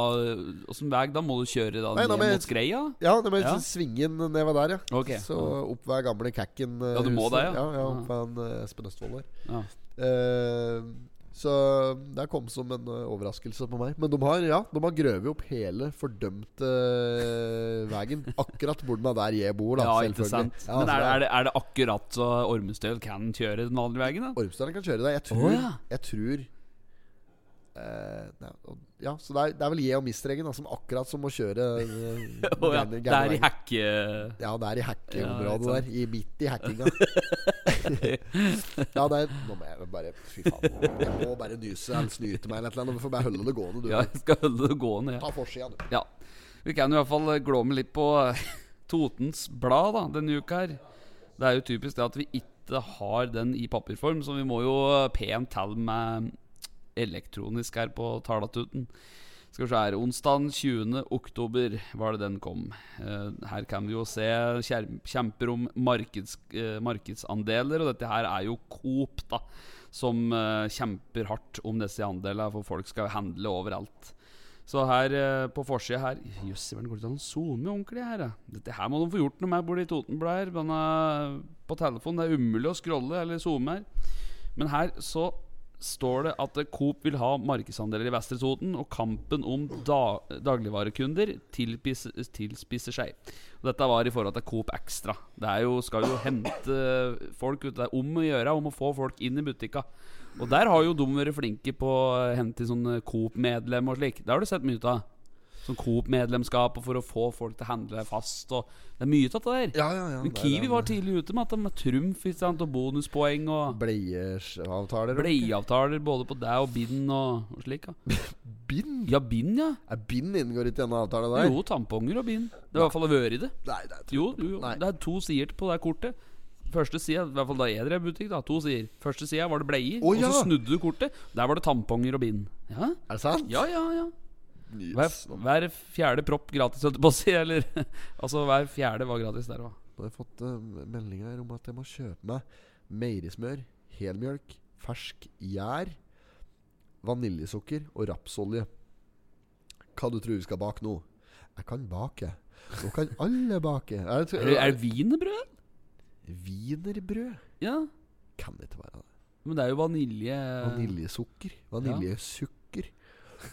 A: Åssen vei da? Må du kjøre da
B: Nei, da
A: ned
B: må jeg-
A: mot Skreia?
B: Ja, det må jeg
A: Ja.
B: ja. svinge inn nedover der, ja.
A: Ok.
B: Så opp ved gamle Kakken. eh,
A: Ja, du må
B: huset.
A: det, ja. Mm.
B: Ja, ja
A: Ja.
B: opp ved han, eh, Espen Østfold der.
A: Ja.
B: Eh, så det kom som en eh, overraskelse på meg. Men de har ja, de har grøvet opp hele fordømte eh, veien. Akkurat borten av der jeg bor, da.
A: ja, ikke
B: selvfølgelig.
A: sant.
B: Ja, altså,
A: Men
B: så
A: er, er, det, er det akkurat så Ormestøl kan kjøre den vanlige veien, da?
B: Ormsdalen kan kjøre deg. Jeg tror,
A: Å, ja.
B: jeg tror eh, nei, og- Ja, så det er, det er vel jeg og Mistregen da, som akkurat som må kjøre eh,
A: Å ja.
B: gærne- gærne
A: Det er i
B: veien.
A: hekke...
B: Ja, det er i
A: Ja,
B: hackeområdet
A: ikke sant.
B: der. I midt i hackinga. ja, det er Nå må jeg bare Fy faen. Jeg må bare nyse eller snyte meg eller et eller annet. Du får bare holde det gående, du.
A: Ja, jeg skal holde det gående, ja.
B: Ta forsida, du.
A: ja. Vi kan i hvert fall glåme litt på eh, Totens Blad da, denne uka her. Det er jo typisk det at vi ikke har den i papirform, så vi må jo eh, pent til med elektronisk her på Talatuten. Skal vi se her Onsdag 20. oktober var det den kom. Eh, her kan vi jo se kjer- kjemper om markeds, eh, markedsandeler, og dette her er jo Coop, da. Som eh, kjemper hardt om disse andelene, for folk skal handle overalt. Så her eh, på forsida her Jøss, hvordan går det an å zoome ordentlig her? da? Dette her må de få gjort noe med borte i Totenbladet. her, men, eh, På telefonen. Det er umulig å scrolle eller zoome her. Men her så står det at eh, Coop vil ha markedsandeler i Vestre Toten, og kampen om da dagligvarekunder tilpis- tilspisser seg. Og dette var i forhold til Coop Extra. Det er jo, skal jo hente folk ut. Det er om å gjøre om å få folk inn i butikka. Og der har jo de vært flinke på å hente inn sånne Coop-medlem og slik. Det har du sett mye ut av. Sånn Coop-medlemskap og for å få folk til å handle fast og Det er mye ut av det der.
B: Ja, ja, ja.
A: Men
B: det er
A: Kiwi
B: det.
A: var tidlig ute med at de har trumf ikke sant, og bonuspoeng og
B: Bleieavtaler og
A: bleieavtaler både på deg og bind og, og slik. Ja.
B: bind?
A: ja, bind, ja.
B: Er bind inngår ikke i denne avtalen der?
A: Jo, tamponger og bind. Det var i hvert fall å være i det.
B: Nei, det er
A: Jo, jo, jo.
B: Nei.
A: det er to sider på det kortet. Første sida, i hvert fall da jeg drev butikk, da, to sider. Første sida var det bleier,
B: Å,
A: og så
B: ja.
A: snudde du kortet. Der var det tamponger og bind. Ja,
B: Er det sant?
A: ja, ja. ja.
B: Yes.
A: Hver, hver fjerde propp gratis, holdt jeg på å si. Eller altså, hver fjerde var gratis der òg.
B: Nå har jeg fått uh, meldinger her om at jeg må kjøpe meg meierismør, helmjølk, fersk gjær, vaniljesukker og rapsolje. Hva du tror du skal bake nå? Jeg kan bake. Nå kan alle bake. Er det,
A: Er, det- er det wienerbrød?
B: Wienerbrød?
A: Ja.
B: Kan det ikke være det.
A: Men det er jo vanilje
B: Vaniljesukker. Vaniljesukker.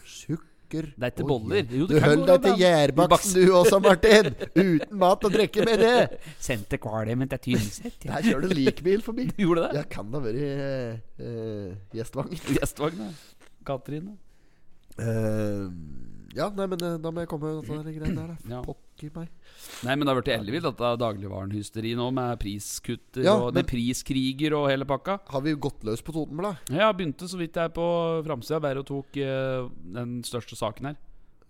B: Sukker.
A: Det er ikke
B: Å,
A: boller.
B: ja.
A: Jo,
B: Du
A: det kan
B: holder
A: gå
B: deg til
A: an.
B: gjærbaksten du også, Martin! Uten mat og drikke med det!
A: Sendte kvalmen til Tynset.
B: Der kjører det likbil forbi.
A: Du gjorde det?
B: Jeg kan da være eh, eh, gjestvang.
A: Gjestvagna. Katrine.
B: Eh, ja, nei, men eh, da må jeg komme med denne greia der. da.
A: Ja.
B: Pokker meg.
A: Nei, men det har blitt ellevilt, dette dagligvarenhysteri nå, med priskutter
B: Ja,
A: og
B: men-
A: med priskriger og hele pakka.
B: Har vi gått løs på Totenbladet?
A: Ja, Jeg begynte så vidt jeg er på framsida, bare og tok eh, den største saken her.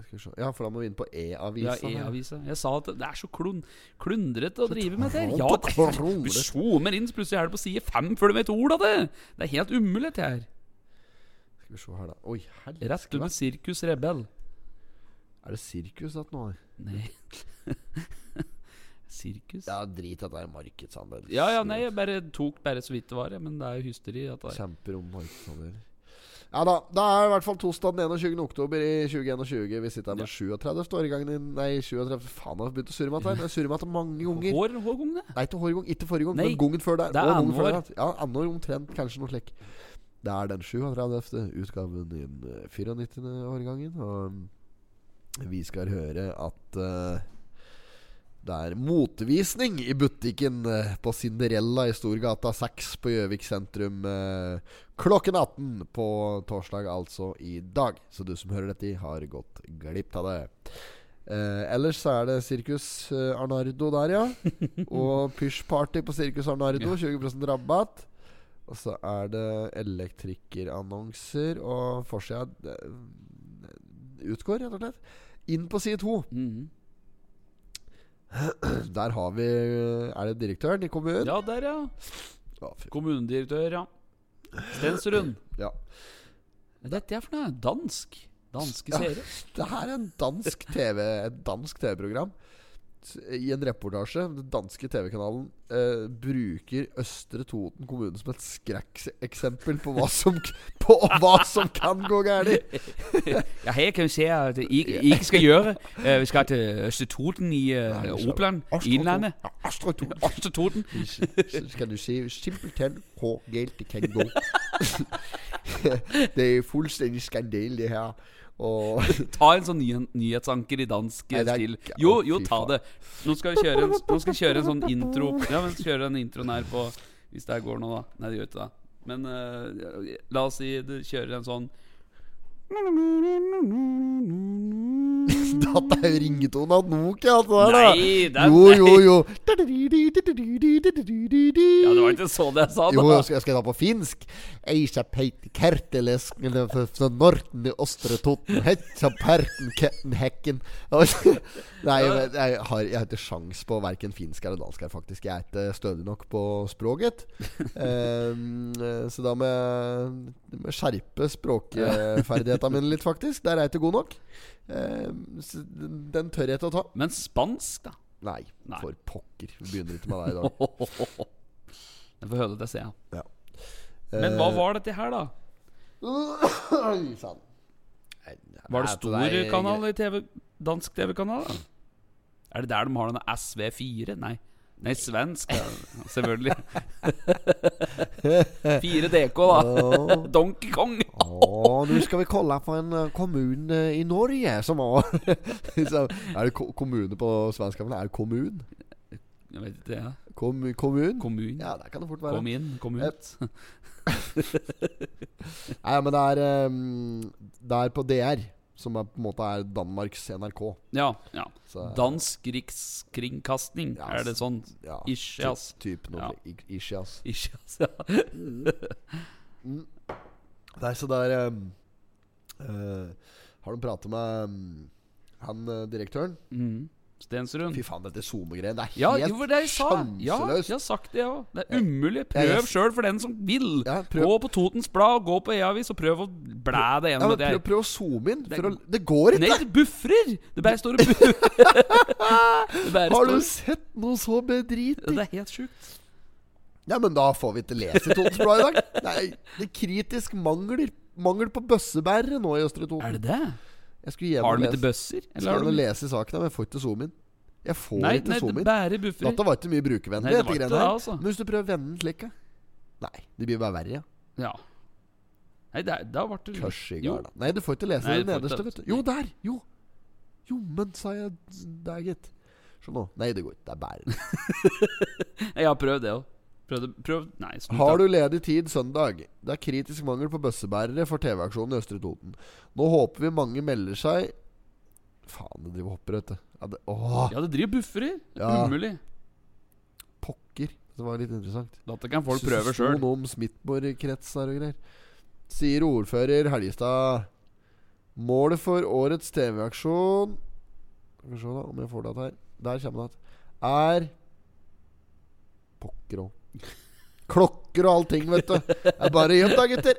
B: Skal vi se. Ja, for da må vi inn på
A: Ja,
B: E-avisa.
A: E-avisa. Jeg sa at det er så klun klundrete å drive med det. her. Ja,
B: klart
A: det
B: og
A: er, du
B: klundrete.
A: zoomer inn, så plutselig er det på side fem før du vet ordet av det! Det er helt umulig, det her.
B: Skal vi se her, da. Oi,
A: Rett
B: helvete.
A: under Sirkus Rebell.
B: Er det sirkus at nå?
A: Nei Sirkus?
B: Ja, drit i at det er markedsandel.
A: Ja ja, nei, jeg bare tok bare så vidt det var, jeg, men det er jo hysteri. At det er.
B: Kjemper om markedsandel. Ja da. Da er det i hvert fall torsdag den 21. oktober i 2021. Vi sitter her med 37. årgangen din. Nei, 37. Faen, jeg har begynt å surre meg til her. Jeg surrer meg til mange unger.
A: Hår, hår om det?
B: Nei, ikke forrige gang, ikke forrige gang
A: Nei,
B: men gangen før der.
A: det er
B: og gangen før
A: annår.
B: der. Ja, annår omtrent, kanskje noe slik. Det er den 37. utgaven i den eh, 94. årgangen, og mm, vi skal høre at eh, det er motvisning i butikken eh, på Cinderella i Storgata 6 på Gjøvik sentrum eh, klokken 18 på torsdag, altså i dag. Så du som hører dette, har gått glipp av det. Eh, ellers så er det Sirkus eh, Arnardo der, ja. Og pysjparty på Sirkus Arnardo. 20 rabatt. Og så er det elektrikerannonser, og forsida eh, utgår, rett og slett. Inn på side to.
A: Mhm.
B: Der har vi eh, Er det direktøren i kommunen?
A: Ja, der, ja.
B: Å, fy-
A: Kommunedirektør, ja. Stensrud.
B: ja.
A: Hva er dette for noe? Dansk? Danske seere?
B: Det her er en dansk TV Et dansk TV-program ut i en reportasje. Den danske TV-kanalen eh, bruker Østre Toten kommune som et skrekkeksempel på hva som, på hva som kan gå galt.
F: Ja, her kan vi se at I I ikke skal gjøre. Eh, vi skal til Østetoten
A: eh,
F: i uh, Opland. Innlandet.
B: Ja, Østre Toten.
F: Østetoten.
B: Så skal du se simpelthen hvor galt det kan gå. det er fullstendig skandale, det her. Og
A: Ta en sånn nyhe- nyhetsanker i dansk
B: Nei, det er
A: stil.
B: ikke-
A: Jo,
B: å,
A: jo,
B: fy
A: ta
B: faen.
A: det. Nå skal vi kjøre en, nå skal vi kjøre en sånn intro Ja, men kjøre den introen her på Hvis det her går nå, da. Nei, det gjør ikke det. Men eh, la oss si du kjører en sånn sånn
B: Dette er jo ringetonen av Nokia, alt det der, da.
A: Nei, det er-
B: Jo, jo, jo.
A: Ja, det var ikke så det jeg sa,
B: Jo,
A: da.
B: jeg skal, jeg skal ta på finsk. Eisa peiti kerteleskene fra sånn Norten i Østre Toten. Hetsa perten ketten hekken. Og- Nei, jeg, jeg, har, jeg har ikke sjans på verken finsk eller dansk her, faktisk. Jeg er ikke stødig nok på språket. Ehm, eh, så da må jeg, må jeg skjerpe språkferdighetene mine litt, faktisk. Der er jeg ikke god nok. Ehm, så den den tør jeg ikke å ta.
A: Men spansk, da.
B: Nei,
A: Nei.
B: for pokker. Vi begynner ikke med deg i dag.
A: Jeg får høre det til jeg.
B: Eh,
A: Men hva var dette her, da?
B: Oi, sann. Nei,
A: Var det
B: er på
A: stor
B: deg,
A: kanal i TV? Dansk TV-kanal? da? Er det der de har denne SV4? Nei. Nei, svensk. ja, Selvfølgelig. 4DK, da.
B: Åh.
A: Donkey Kong.
B: Å, nå skal vi kolla på en eh, kommune i Norge som har liksom, Er det ko kommune på svensk? men Er det kommun?
A: Jeg vet ikke, ja.
B: Kom kommun?
A: Kom inn.
B: Ja, det kan det fort være.
A: Kom inn, kom ut.
B: Nei, men det er, eh, det er på DR, som er, på en måte er Danmarks NRK.
A: Ja. ja
B: Så-
A: Dansk rikskringkasting,
B: Ja,
A: er det sånn?
B: Ja,
A: Ish, ass.
B: Typ noe
A: Ja.
B: ik- ish, ass.
A: Ikke, ass. Ja.
B: Nei, så der um, eh, Har du pratet med um, han eh, direktøren?
A: Mm. Stensrud.
B: Fy faen, dette SoMe-greiene. Det er
A: Ja,
B: helt
A: jo, det er det jeg sa. Ja,
B: sjanseløst.
A: jeg har sagt det, jeg òg. Det er umulig.
B: Ja,
A: Prøv
B: jeg-
A: sjøl for den som vil.
B: Ja, prøv.
A: gå på Totens Blad, gå på E-avis og prøv å blæ det
B: Ja,
A: gjennom
B: men
A: det
B: prøv,
A: der.
B: prøv å zoome inn.
A: Det-
B: For å, det går
A: Nei,
B: ikke!
A: det bufrer! Det bare står og bufrer. Det bare
B: Har du
A: står-
B: sett noe så bedritig?
A: Det er helt sjukt.
B: Ja, men da får vi ikke lese Totens Blad i dag. Nei, det er kritisk mangler Mangel på bøssebærere nå i Østre
A: Er
B: Toten.
A: det det?
B: Jeg skulle gjerne
A: Har de
B: lese,
A: ikke bøsser? Eller
B: skulle
A: har
B: gjerne
A: de
B: lese saken, men jeg får ikke zoome inn. Jeg får
A: Nei,
B: ikke
A: nei
B: zoome
A: det
B: inn.
A: bare bufrer.
B: Dette var ikke mye
A: Nei, det var
B: brukervennlig. dette
A: ikke
B: greiene her.
A: det, altså.
B: Men hvis du prøver å vende den slik ja. Nei, det blir bare verre. Ja.
A: Ja. Nei, det er- da ble det
B: Kørs i
A: Mm. Jo.
B: garda. Nei, du får ikke lese
A: Nei,
B: den
A: du får ikke
B: nederste,
A: det.
B: vet du. Jo, der! Jo! Jommen, sa jeg der, gitt. Se nå. Nei, det går ikke. Det er bare
A: Jeg har prøvd det òg. Prøvd prøv. Nei, slutt.
B: Har du ledig tid søndag? Det er kritisk mangel på bøssebærere for TV-aksjonen i Østre Toten. Nå håper vi mange melder seg Faen, det driver og hopper, vet du. Ja, det, åh,
A: Ja, det driver og bufrer. Det er
B: Ja.
A: Umulig.
B: pokker. Det var litt interessant.
A: Dette kan folk
B: Synes det
A: prøve
B: sto
A: sjøl.
B: Noe om Smithborg-krets her og greier. Sier ordfører Helgestad. Målet for årets TV-aksjon Skal vi se da om jeg får det att her. Der kommer det att. Er Pokker òg. Klokker og allting, vet du. Det er bare å gi opp, da, gutter.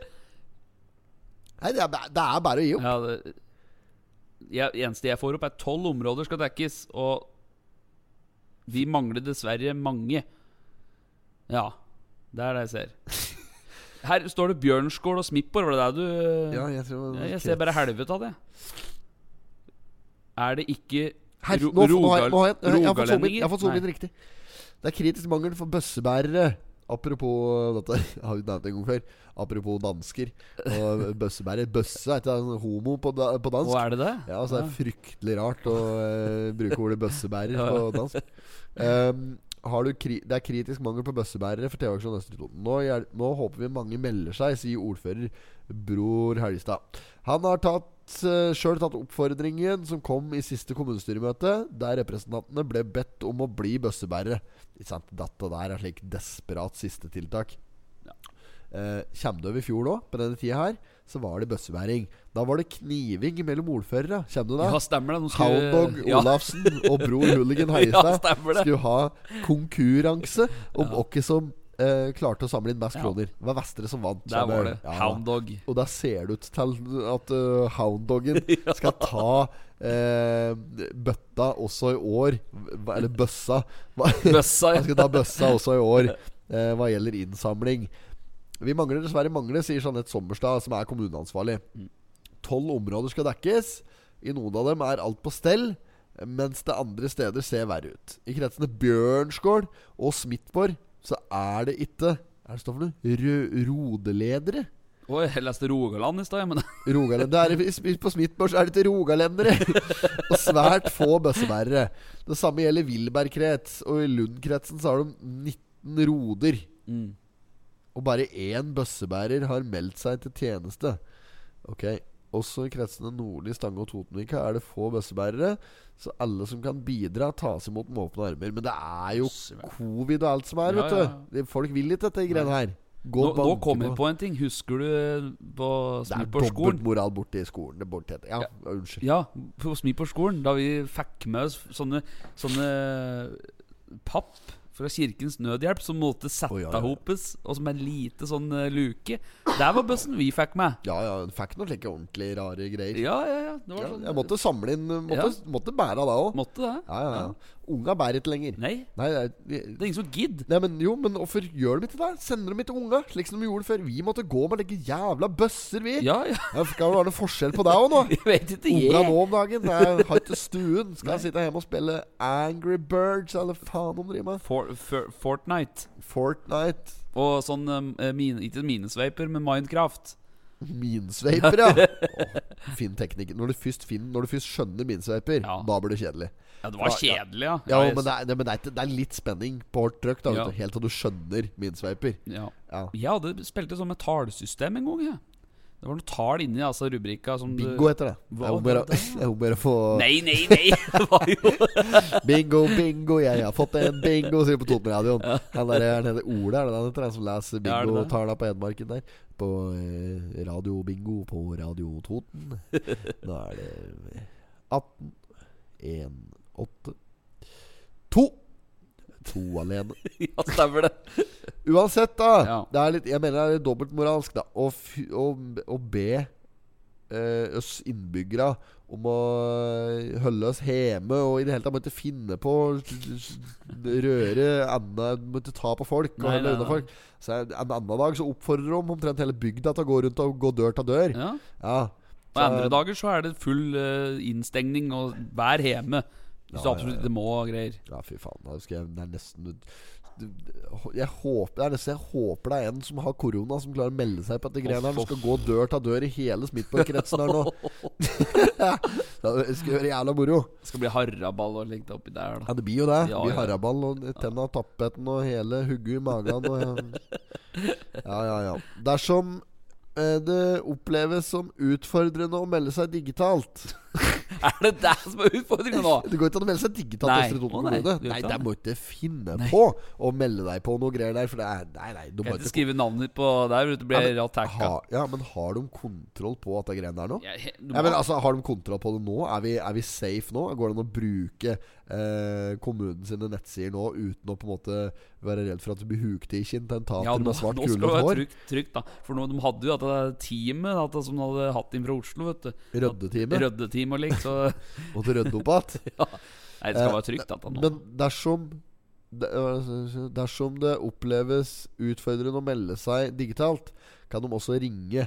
B: Nei, det er, ba- det er bare å gi opp.
A: Ja, det jeg, eneste jeg får opp, er tolv områder skal dekkes, og vi mangler dessverre mange. Ja. Det er det jeg ser. Her står det Bjørnskål og Smippor. Var det der du
B: Ja, jeg tror det var
A: Jeg, jeg
B: krets.
A: ser bare helvete av det. Er det ikke
B: Her,
A: ro-
B: nå, nå, har jeg, nå har jeg,
A: rogal-
B: jeg har fått zoome inn- jeg har fått zoome inn
A: Nei.
B: riktig. Det er kritisk mangel for bøssebærere. Apropos dette Jeg har jo nevnt det en gang før. Apropos dansker og bøssebærer. Bøsse er ikke det homo på, da, på dansk.
A: Å, er det det?
B: Ja, altså Det er fryktelig rart å eh, bruke ordet bøssebærer
A: Ja.
B: på dansk. Ehm, har du kri det er kritisk mangel på bøssebærere for TV-aksjon Østre Toten. Nå, hjel- nå håper vi mange melder seg, sier ordfører Bror Helgestad. Han har tatt eh, sjøl tatt oppfordringen som kom i siste kommunestyremøte, der representantene ble bedt om å bli bøssebærere. Ikke sant? Dette der er slik desperat siste tiltak. Eh, Kjem du over i fjor nå, på denne tida her, så var det bøssebæring. Da var det kniving mellom ordførere. Kjem du det?
A: Ja, stemmer det. Nå skal-
B: Houndog
A: ja.
B: Olafsen og bror Hooligan
A: Ja,
B: Heiestad
A: stemmer det.
B: skulle ha konkurranse om hvem som eh, klarte å samle inn mest
A: Ja.
B: kroner. Det var Vestre som vant.
A: Der var det.
B: Ja.
A: Hound Dog.
B: Og da ser det ut til at uh, hounddoggen skal ta eh, bøtta også i år. Hva- Eller bøssa. Hva-
A: Bøssa,
B: Han
A: ja.
B: skal ta bøssa også i år eh, hva gjelder innsamling. Vi mangler dessverre mange, sier Jeanette Sommerstad, som er kommuneansvarlig.
A: Mm.
B: Tolv områder skal dekkes. I noen av dem er alt på stell, mens det andre steder ser verre ut. I kretsene Bjørnskål og Smithborg så er det ikke Er det står for noe? Rø- Rodeledere?
A: Oi, jeg leste Rogaland i stad, men
B: Rogalend. Det er, i- i- på Smithborg så er det ikke rogalendere! og svært få bøssebærere. Det samme gjelder Villberg-krets, og i Lund-kretsen så har de 19 roder.
A: Mm.
B: Og bare én bøssebærer har meldt seg til tjeneste. Ok Også i kretsene Nordli, Stange og Totenvika er det få bøssebærere, så alle som kan bidra, tas imot med åpne armer. Men det er jo covid og alt som er,
A: Ja,
B: vet
A: ja,
B: du. Det- Folk vil ikke dette greiene her. Gå
A: nå,
B: og
A: nå
B: banke
A: kom jeg på en ting. Husker du på
B: det er
A: Smilborgskolen?
B: dobbeltmoral borti skolen. Det er borti ja, unnskyld.
A: Ja, på Smilborgskolen. Da vi fikk med oss sånne, sånne papp fra Kirkens Nødhjelp som måtte sette
B: Å, ja,
A: ihopes
B: ja.
A: og som en lite sånn eh, luke. Der var bøssen vi fikk med.
B: Ja, ja, hun fikk noen slike ordentlig rare greier.
A: Ja, ja, ja. Det var
B: Ja,
A: sånn
B: jeg måtte samle inn Måtte,
A: Ja.
B: måtte bære av det òg.
A: Måtte det?
B: Ja, ja, ja. Unga bærer ikke lenger.
A: Nei,
B: Nei, det er-
A: det er ingen som gidder.
B: Nei, men jo, men hvorfor gjør de ikke det? Sender de ikke unga, slik som de gjorde før? Vi måtte gå med like jævla bøsser, vi.
A: Ja, ja,
B: Det skal jo være noe forskjell på deg òg, nå.
A: jeg vet ikke,
B: Unga
A: jeg.
B: nå om dagen Jeg har ikke stuen. Skal jeg sitte hjemme og spille Angry Birds, eller faen om de driver med?
A: For, for, Fortnite.
B: Fortnite.
A: Og sånn eh, min, Ikke minesveiper, men Minecraft.
B: Minsveiper, ja. Åh, fin teknikk. Når du først, finner, når du først skjønner minsveiper,
A: Ja.
B: da blir det kjedelig.
A: Ja, det var
B: Ja, ja.
A: kjedelig, ja.
B: Ja,
A: jeg-
B: men, det er, det, men det, er, ikke- det er litt spenning på hardt trøkk, da, vet
A: Ja.
B: du, helt til du skjønner minsveiper.
A: ja.
B: Ja.
A: Jeg hadde spilte sånn med tallsystem en gang, jeg. Det var noe tall inni altså, rubrikka som du-
B: Bingo heter det.
A: Hva
B: Jeg må
A: var
B: bare, jeg må bare få
A: Nei, nei, nei! Det var jo
B: Bingo, bingo, jeg har fått en bingo, sier på Totenradioen. Han der han heter Ole, er det han heter? Han som leser
A: Ja, er det det?
B: bingotala på Hedmarken der. På eh, Radio Bingo på Radio Toten. Da er det 18, 1, 8, 2. To alene.
A: Ja, stemmer det.
B: Uansett, da.
A: Ja.
B: Det er litt, jeg mener det er dobbeltmoralsk, da. Å fy- å- å be eh, oss innbyggere om å eh, holde oss hjemme og i det hele tatt måtte finne på å røre enda Måtte ta på folk og
A: Nei,
B: holde
A: nei,
B: unna
A: nei.
B: folk. Så en annen dag så oppfordrer de omtrent hele bygda til å gå rundt og gå dør til dør.
A: Ja.
B: Ja.
A: Og andre dager så er det full eh, innstengning og vær hjemme. Hvis du
B: Ja, ja,
A: absolutt
B: ja.
A: ikke må og greier.
B: Ja, fy faen. Da husker jeg Det er nesten jeg håper, det er nesten jeg håper det er en som har korona, som klarer å melde seg på dette greiene her. Som skal gå dør til dør i hele Smithborg-kretsen her nå. det skulle være jævla moro.
A: Det skal bli haraball og likt oppi der, da.
B: Ja, det blir jo det.
A: Ja,
B: det blir
A: ja.
B: haraball og tenna tappeten og hele hugget i magen og Ja, ja, ja. Dersom eh, det oppleves som utfordrende å melde seg digitalt
A: Er det det som er utfordringa nå?
B: Det går ikke an å melde seg digitalt
A: Nei.
B: etter Toten
A: Å, nei,
B: kommune.
A: det gjør
B: Nei,
A: ikke
B: der
A: det.
B: må du ikke finne på å melde deg på noe greier der. For det er Nei, nei. Du må
A: Kan ikke
B: ikke
A: skrive navnet ditt på der, vet du blir
B: Ja, men ha,
A: attacka.
B: Ja, men har de kontroll på at det greiene der nå?
A: Ja, he- du
B: Ja,
A: må-
B: men altså, Har de kontroll på det nå? Er vi, er vi safe nå? Går det an å bruke eh, kommunen sine nettsider nå uten å på en måte være redd for at du blir hukt i kintentater
A: Ja, nå,
B: med svart
A: nå skal
B: kule
A: det
B: og
A: være
B: hår?
A: trygt, trygt, da. For nå, de hadde jo dette teamet dette, som de hadde hatt inn fra Oslo, vet du.
B: Røddetime.
A: Røddeteam og lik, så
B: Måtte rødde opp igjen.
A: Nei, det skal
B: Eh,
A: være trygt, dette nå.
B: Men dersom de- øh, Dersom det oppleves utfordrende å melde seg digitalt, kan de også ringe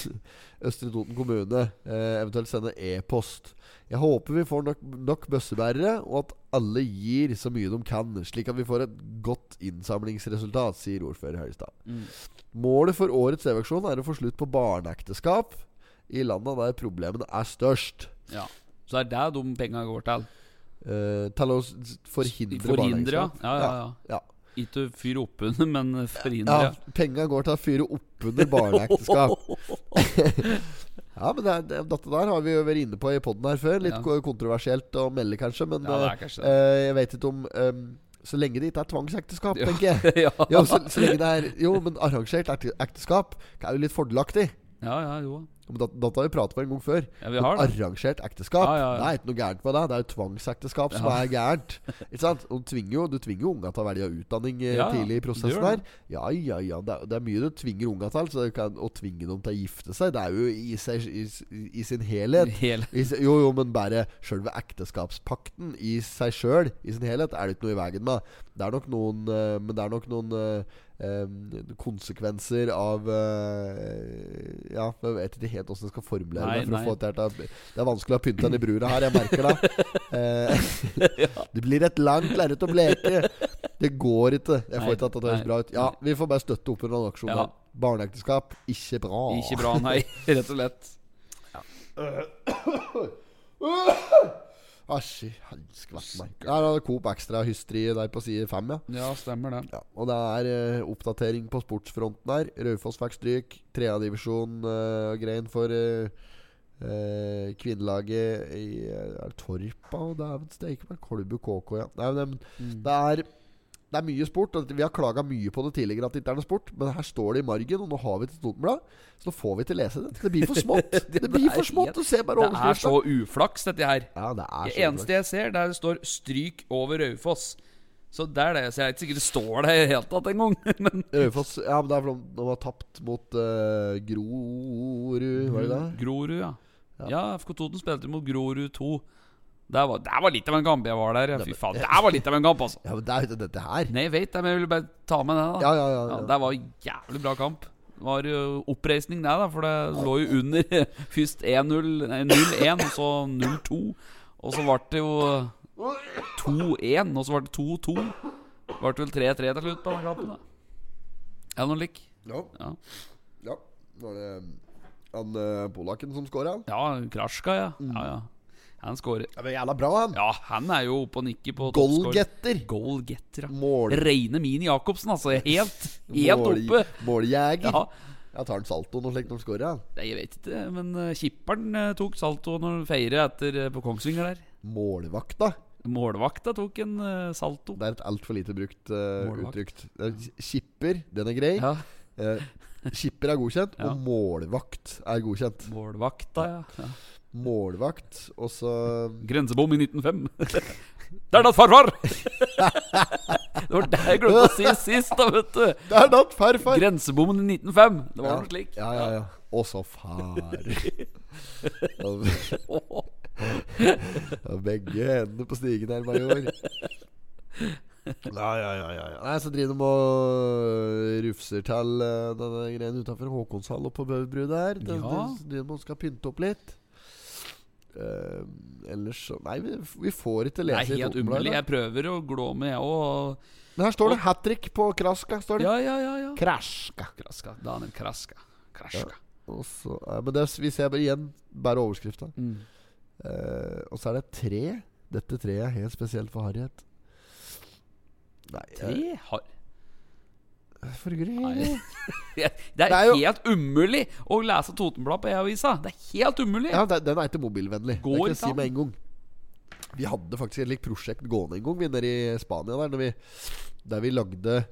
B: Østre Toten kommune, eh, eventuelt sende e-post. Jeg håper vi får nok, nok bøssebærere, og at alle gir så mye de kan, slik at vi får et godt innsamlingsresultat, sier ordfører Høyestad.
A: Mm.
B: Målet for årets redaksjon er å få slutt på barneekteskap i landa der problemene er størst.
A: Ja. Så det er der de penga går til.
B: Eh, til å s- s-
A: Forhindre,
B: forhindre,
A: ja.
B: barneekteskap.
A: Ja, ja, ja.
B: ja.
A: Ikke fyr oppunder, men forhindre.
B: Ja, penga går til å fyre oppunder barneekteskap. ja, men det, er- det, dette der har vi jo vært inne på i poden her før. Litt
A: Ja.
B: ko- kontroversielt å melde, kanskje, men
A: Ja, det er
B: eh,
A: kanskje det.
B: eh, jeg vet ikke om eh, Så lenge det ikke er tvangsekteskap, tenker jeg.
A: ja.
B: Jo, så, så lenge det er, jo, men arrangert ekte- ekteskap er jo litt fordelaktig.
A: ja, ja, jo.
B: Men da- Dette har vi pratet om en gang før.
A: Ja, vi har det.
B: Arrangert ekteskap.
A: Ja, ja, ja.
B: Det er ikke noe gærent med det. Det er jo tvangsekteskap som er gærent. Ikke sant? Og Du tvinger jo, du tvinger jo unga til å velge utdanning eh,
A: Ja, ja.
B: tidlig i
A: Du
B: prosessen
A: gjør
B: her. Ja, ja, ja. Det er, det er mye du tvinger unga til. Så du kan, Å tvinge dem til å gifte seg, det er jo i, seg, i, i sin helhet
A: Hele.
B: i, se- jo, jo, men bare sjølve ekteskapspakten i seg sjøl, i sin helhet, er det ikke noe i veien med. Det er nok noen eh, Men det er nok noen eh, eh, konsekvenser av eh, Ja, jeg vet ikke helt åssen jeg skal formulere
A: Nei,
B: meg. For
A: nei.
B: å få det, her til å- det er vanskelig å ha pynta den i brura her, jeg merker det. Eh, det blir et langt lerret å bleke. Det går ikke. Jeg
A: Nei,
B: får ikke at det høres
A: nei.
B: bra ut. Ja, vi får bare støtte opp under den aksjonen.
A: Ja.
B: da. Barneekteskap, ikke bra.
A: Ikke bra, nei. Rett og slett.
B: Asj, helske vett meg. Der er det Coop Extra hysteri der på side fem, ja.
A: Ja, stemmer det.
B: ja. Og det er eh, oppdatering på sportsfronten her. Raufoss fikk stryk. Tredjedivisjon uh, grein for eh, eh, kvinnelaget i eh, Er det Torpa og dæven steike meg? Kolbu KK, ja. Nei, men,
A: Mm.
B: det- det er det er mye sport, og vi har klaga mye på det tidligere. At det ikke er noe sport Men her står det i margen, og nå har vi et Totenblad. Så nå får vi ikke lese det. Det blir for smått. Det blir for smått å se bare
A: Det er
B: overskrifta.
A: så uflaks, dette her.
B: Ja, det er
A: Det eneste jeg ser, der det står 'stryk over Raufoss'. Så det er det jeg ser. Jeg er ikke sikkert det står der i det hele tatt engang. Men
B: Raufoss Ja, men det er fordi de- de har tapt mot eh, Grorud, var det det?
A: Mm, Grorud, ja. Ja, FK Toten spilte mot Grorud 2. Der var, der var litt av en kamp jeg var der. ja. Fy faen, der var litt av en kamp, altså.
B: Ja, men det er jo ikke dette her.
A: Nei, jeg vet det, men jeg ville bare ta med det, da.
B: Ja, ja, ja, ja.
A: Ja, det var jævlig bra kamp. Det var jo oppreisning, det, da, for det lå jo under først 1-0 nei, 0-1, og så 0-2. Og så ble det jo 2-1, og så ble det 2-2. Det Ble vel 3-3 til slutt på den kampen, da. Ja, noe lik.
B: Ja,
A: Ja,
B: ja. Var det um, han eh, polakken som scora?
A: ja Krasjka, ja.
B: Mm.
A: ja, ja. Han skårer.
B: Ja, men jævla bra, han.
A: Ja, han er jo oppe og nikker på toppscorer.
B: Goalgetter.
A: Goalgetter, ja.
B: Mål.
A: Reine Mini Jacobsen, altså. Helt, helt
B: Mål-
A: oppe.
B: Måljeger.
A: Ja,
B: Jeg tar en saltoen og slikt når han scorer, han.
A: Nei, Jeg vet ikke, men eh, kipperen eh, tok salto når han feirer etter eh, på Kongsvinger der.
B: Målvakta.
A: Målvakta tok en eh, salto.
B: Det er et altfor lite brukt eh,
A: Målvakt.
B: uttrykk. Det er Skipper, den er grei.
A: Ja,
B: Eh, skipper er godkjent,
A: Ja.
B: og målvakt er godkjent.
A: målvakta, ja. ja.
B: Målvakt, og så
A: Grensebom i 1905. Det er da farfar! det var det jeg glemte å si sist, da, vet du.
B: Det er natt, farfar!
A: Grensebommen i 1905. Det var
B: Ja.
A: noe slik.
B: Ja, ja, ja. Og så far. Og
A: Åh,
B: Begge hendene på stigen her, major. Ja, ja, ja, ja, ja. Nei, Så driver de og øh, rufser til eh, denne greien utafor Håkonshall og på Bøverbru der. De,
A: Ja.
B: de, driver og skal pynte opp litt. Eh, ellers så Nei, vi, vi får ikke
A: det
B: lese
A: er helt
B: Totenbladet.
A: umulig. Jeg prøver å glå med, jeg òg.
B: Men her står det hat trick på Kraska. Står det.
A: Ja, ja, ja. ja.
B: Kraska.
A: Kraska. Daniel Kraska. Kraska.
B: Og så, eh, men det, er- vi ser bare igjen bare overskrifta.
A: Mm.
B: Eh, og så er det et tre. Dette treet er helt spesielt for Harriet. Nei,
A: Tre
B: jeg-
A: har...
B: For gry.
A: Nei. Det er,
B: Det er jo-
A: helt umulig å lese Totenbladet på E-avisa. Det er helt umulig.
B: Ja, den, den er ikke mobilvennlig. det
A: Går
B: kan jeg
A: ikke
B: si
A: an.
B: med en gang. Vi hadde faktisk et likt prosjekt gående en gang, vi nede i Spania, der, når vi, der vi lagde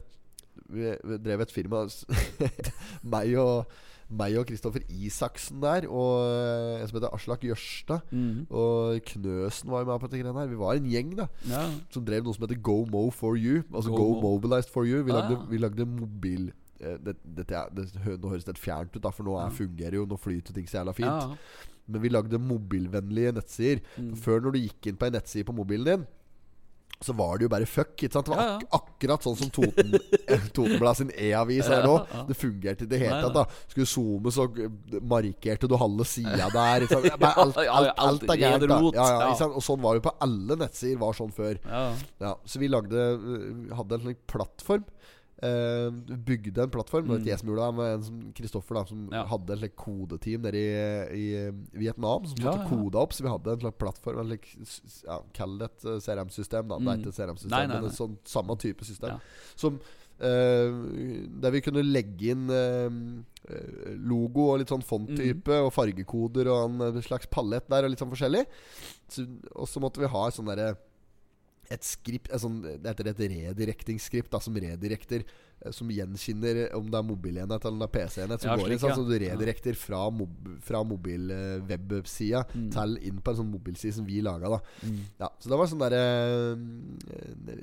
B: vi, vi drev et firma s- Meg og meg og Kristoffer Isaksen der, og eh, en som heter Aslak Jørstad.
A: Mhm.
B: Og Knøsen var jo med på dette greiene her. Vi var en gjeng, da.
A: Ja.
B: som drev noe som heter Go Mo for you. Altså
A: Go
B: Go,
A: Mo.
B: Mobilized for you. Vi
A: Ah,
B: lagde,
A: ja.
B: vi lagde mobil eh, det, dette er, det, hø- Nå høres det helt fjernt ut, da, for nå er, fungerer jo Nå flyter ting så jævla fint.
A: Ja. Mm.
B: Men vi lagde mobilvennlige nettsider. Før, når du gikk inn på ei nettside på mobilen din, så var det jo bare fuck. Ikke sant? Det var
A: Ja, ja.
B: ak akkurat sånn som Toten Totenblad sin e-avis er nå. Det fungerte ikke i det hele
A: Nei,
B: tatt. da Skulle zoome, så eh, markerte du halve sida der. Ikke sant? Bare Alt,
A: Ja, ja,
B: alt, alt er
A: alt
B: gærent. da.
A: rot.
B: Ja, ja,
A: Ja.
B: ikke sant? Og sånn var det jo på alle nettsider var sånn før.
A: Ja.
B: Ja, så vi lagde øh, hadde en slik plattform. eh, bygde en plattform. Det var ikke jeg som gjorde det, men en som Kristoffer, da, som
A: Mm. Ja.
B: hadde et slik kodeteam nede i, i eh, Vietnam. Som
A: Ja, ja.
B: satt og
A: koda
B: koda opp, så vi hadde en slags plattform. En slik, s- s- ja, Kall det et eh, CRM-system, da. Det er ikke et CRM-system,
A: Mm. Nei, nei,
B: men
A: nei.
B: et sånn samme type system.
A: Ja.
B: Som eh, Der vi kunne legge inn eh, eh, logo og litt sånn fonttype
A: Mm.
B: og fargekoder og en slags palett der, og litt sånn forskjellig. Så, og så måtte vi ha et sånn derre et skript et sånn, Det heter et redirektingsskript da, som redirekter eh, som gjenkjenner om det er mobilenhet eller om det er PC-enhet. Som
A: Ja,
B: går inn
A: slik,
B: sånn
A: ja.
B: Så du redirekter fra, mob fra mobilwebsida
A: Mm.
B: til inn på en sånn mobilside som vi laga. da ja, Så det var sånn derre